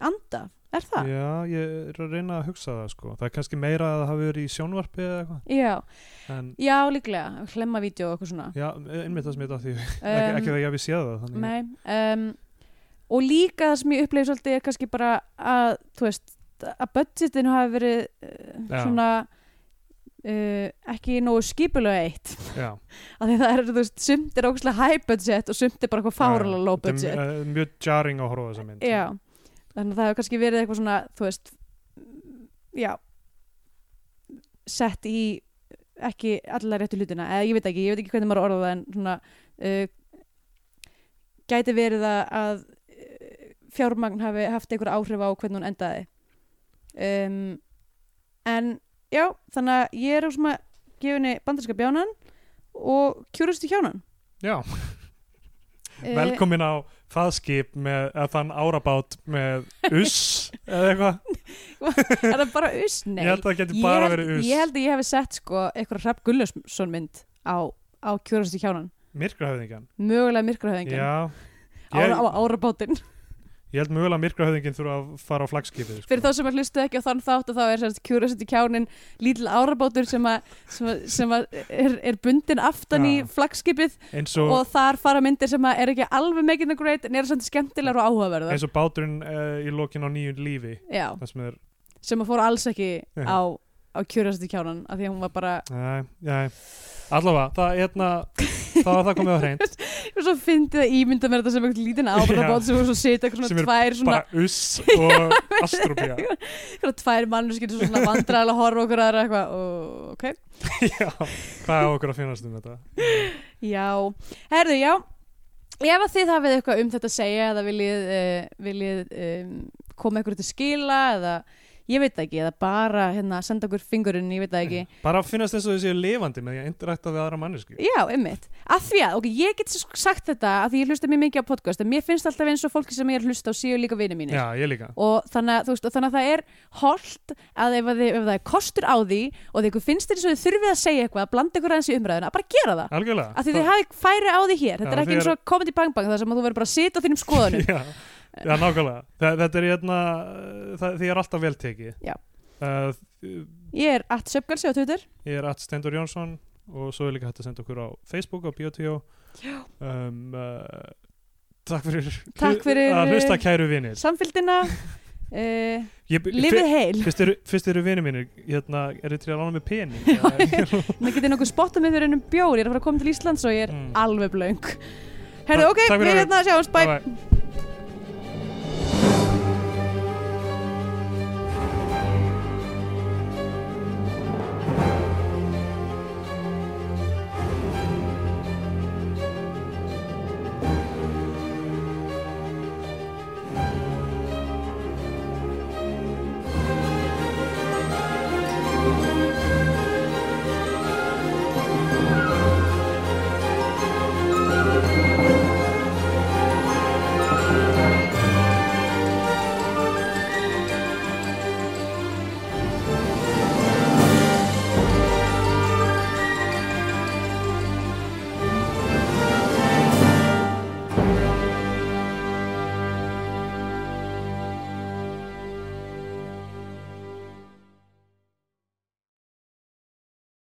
anda, er það?
já, ég er að reyna að hugsa það sko það er kannski meira að það hafi verið í sjónvarpi eða eitthvað,
Já,
en
já líklega, hlemmavídeó og eitthvað svona.
já, einmitt það sem ég þetta því ekki,
Um,
ekki það ég hafi séð það þannig,
Nei, um, og líka það sem ég uppleif svolítið er kannski bara að, þú veist, að budgetinu hafi verið uh,
Já.
svona uh, ekki nógu skipulega eitt.
já
Af því það er, þú veist, sumt er ógustlega high budget og sumt er bara eitthvað fárala low
Þetta
budget.
er, eh, mjög jarring að horfa á þessa mynd
Já, þannig að það hefur kannski verið eitthvað svona, þú veist, já, sett í ekki alla réttu hlutina, eða ég veit ekki, ég veit ekki hvernig maður orða það en svona, uh, gæti verið að, að uh, fjármagn hafi haft einhver áhrif á hvernig hún endaði. Um, en já, þannig að ég er svona gefinni bandarska bjánan og kjúrustu hjánan. Eh,
já. Velkomin á það skip með, eða þann árabát með uss eða eitthvað,
Er það bara us? Nei.
ég held að það geti
ég
bara
held,
verið uss
ég held að ég hef sett sko eitthvað Rapp Gullarsson mynd á, á kjórastu hjánan,
Myrkrahöfðingjan,
mögulega myrkrahöðingin
já
ára,
ég,
á árabátinn,
ég held mögulega að myrkrahöfðingin þurfa að fara á flagskipið sko.
fyrir þá sem að hlustu ekki á þann þátt og þá er sérst kjórastu hjánin lítil árabátur sem að sem að- sem að er, er bundin aftan
Já.
í flagskipið
eins og,
og þar fara myndir sem að er ekki alveg making the great en eru samt skemmtilegar og áhugaverðar
eins og báturinn uh, í lokin á nýjun lífi
já,
það sem er,
sem að fór alls ekki
Já.
á, á kjórastu hjánan af því að hún var bara
nei, nei allavega, það er hérna það var það komið á hreint,
og svo fyndi það ímynda mér þetta sem eitthvað lítinn árabát sem voru svo sita eitthvað
Sem
svona
eru
tvær svona
bara uss og astrópía
Svona tvær mannur skilur svona vandræðilega horfa okkur aðra eitthvað og ok.
já, hvað er okkur að finnast um þetta
Já, herðu, já. Ef að þið hafið eitthvað um þetta að segja eða viljið, uh, viljið um, koma eitthvað til skila eða ég veit það ekki, eða bara hérna, senda okkur fingurinn, ég veit það ekki.
bara finnast eins og þessi lifandi með því að interakta við aðra mannesku
Já, ummitt. Af því að, ok, ég get s- sagt þetta af því ég hlusta mjög mikið á podcast en mér finnst alltaf eins og fólki sem ég er að hlusta á séu líka vinið mínir.
já, ég líka
og þannig að, þú veist, og þannig að það er holdt að ef, að þið, ef það er kostur á því og þið ykkur finnst þér svo þið þurfið að segja eitthvað blanda ykkur aðeins í umræðuna, bara gera það
Algjörlega
af því þið hafið færi á því hér, þetta
Já,
er ekki
þið
eins og komandi bang bang þar sem að þú verður bara að sita á þínum skoðunum
Já, já nákvæmlega Þa, Þetta er hérna uh, það, Því er alltaf vel tekið
Já.
uh,
ég er at söpgalsi á Twitter
Ég er at Stendur Jónsson og svo er líka hægt að senda okkur á Facebook á Biotvíó um, uh, Takk fyrir
Takk fyrir,
að hlusta
uh,
kæru vinir
samfylgdina uh,
Ég- fyr-
lifið heil,
Fyrst eru, fyrst eru vinir mínir hérna, er þið til að lána mig pening Eða-
maður getið nokkuð spottað mig fyrir ennum bjór, ég er að fara að koma til Íslands og ég er
Mm.
alveg blöng
Takk-
herru, ok,
takk fyrir
við
okkur.
hérna sjáumst, bye
Bye bye.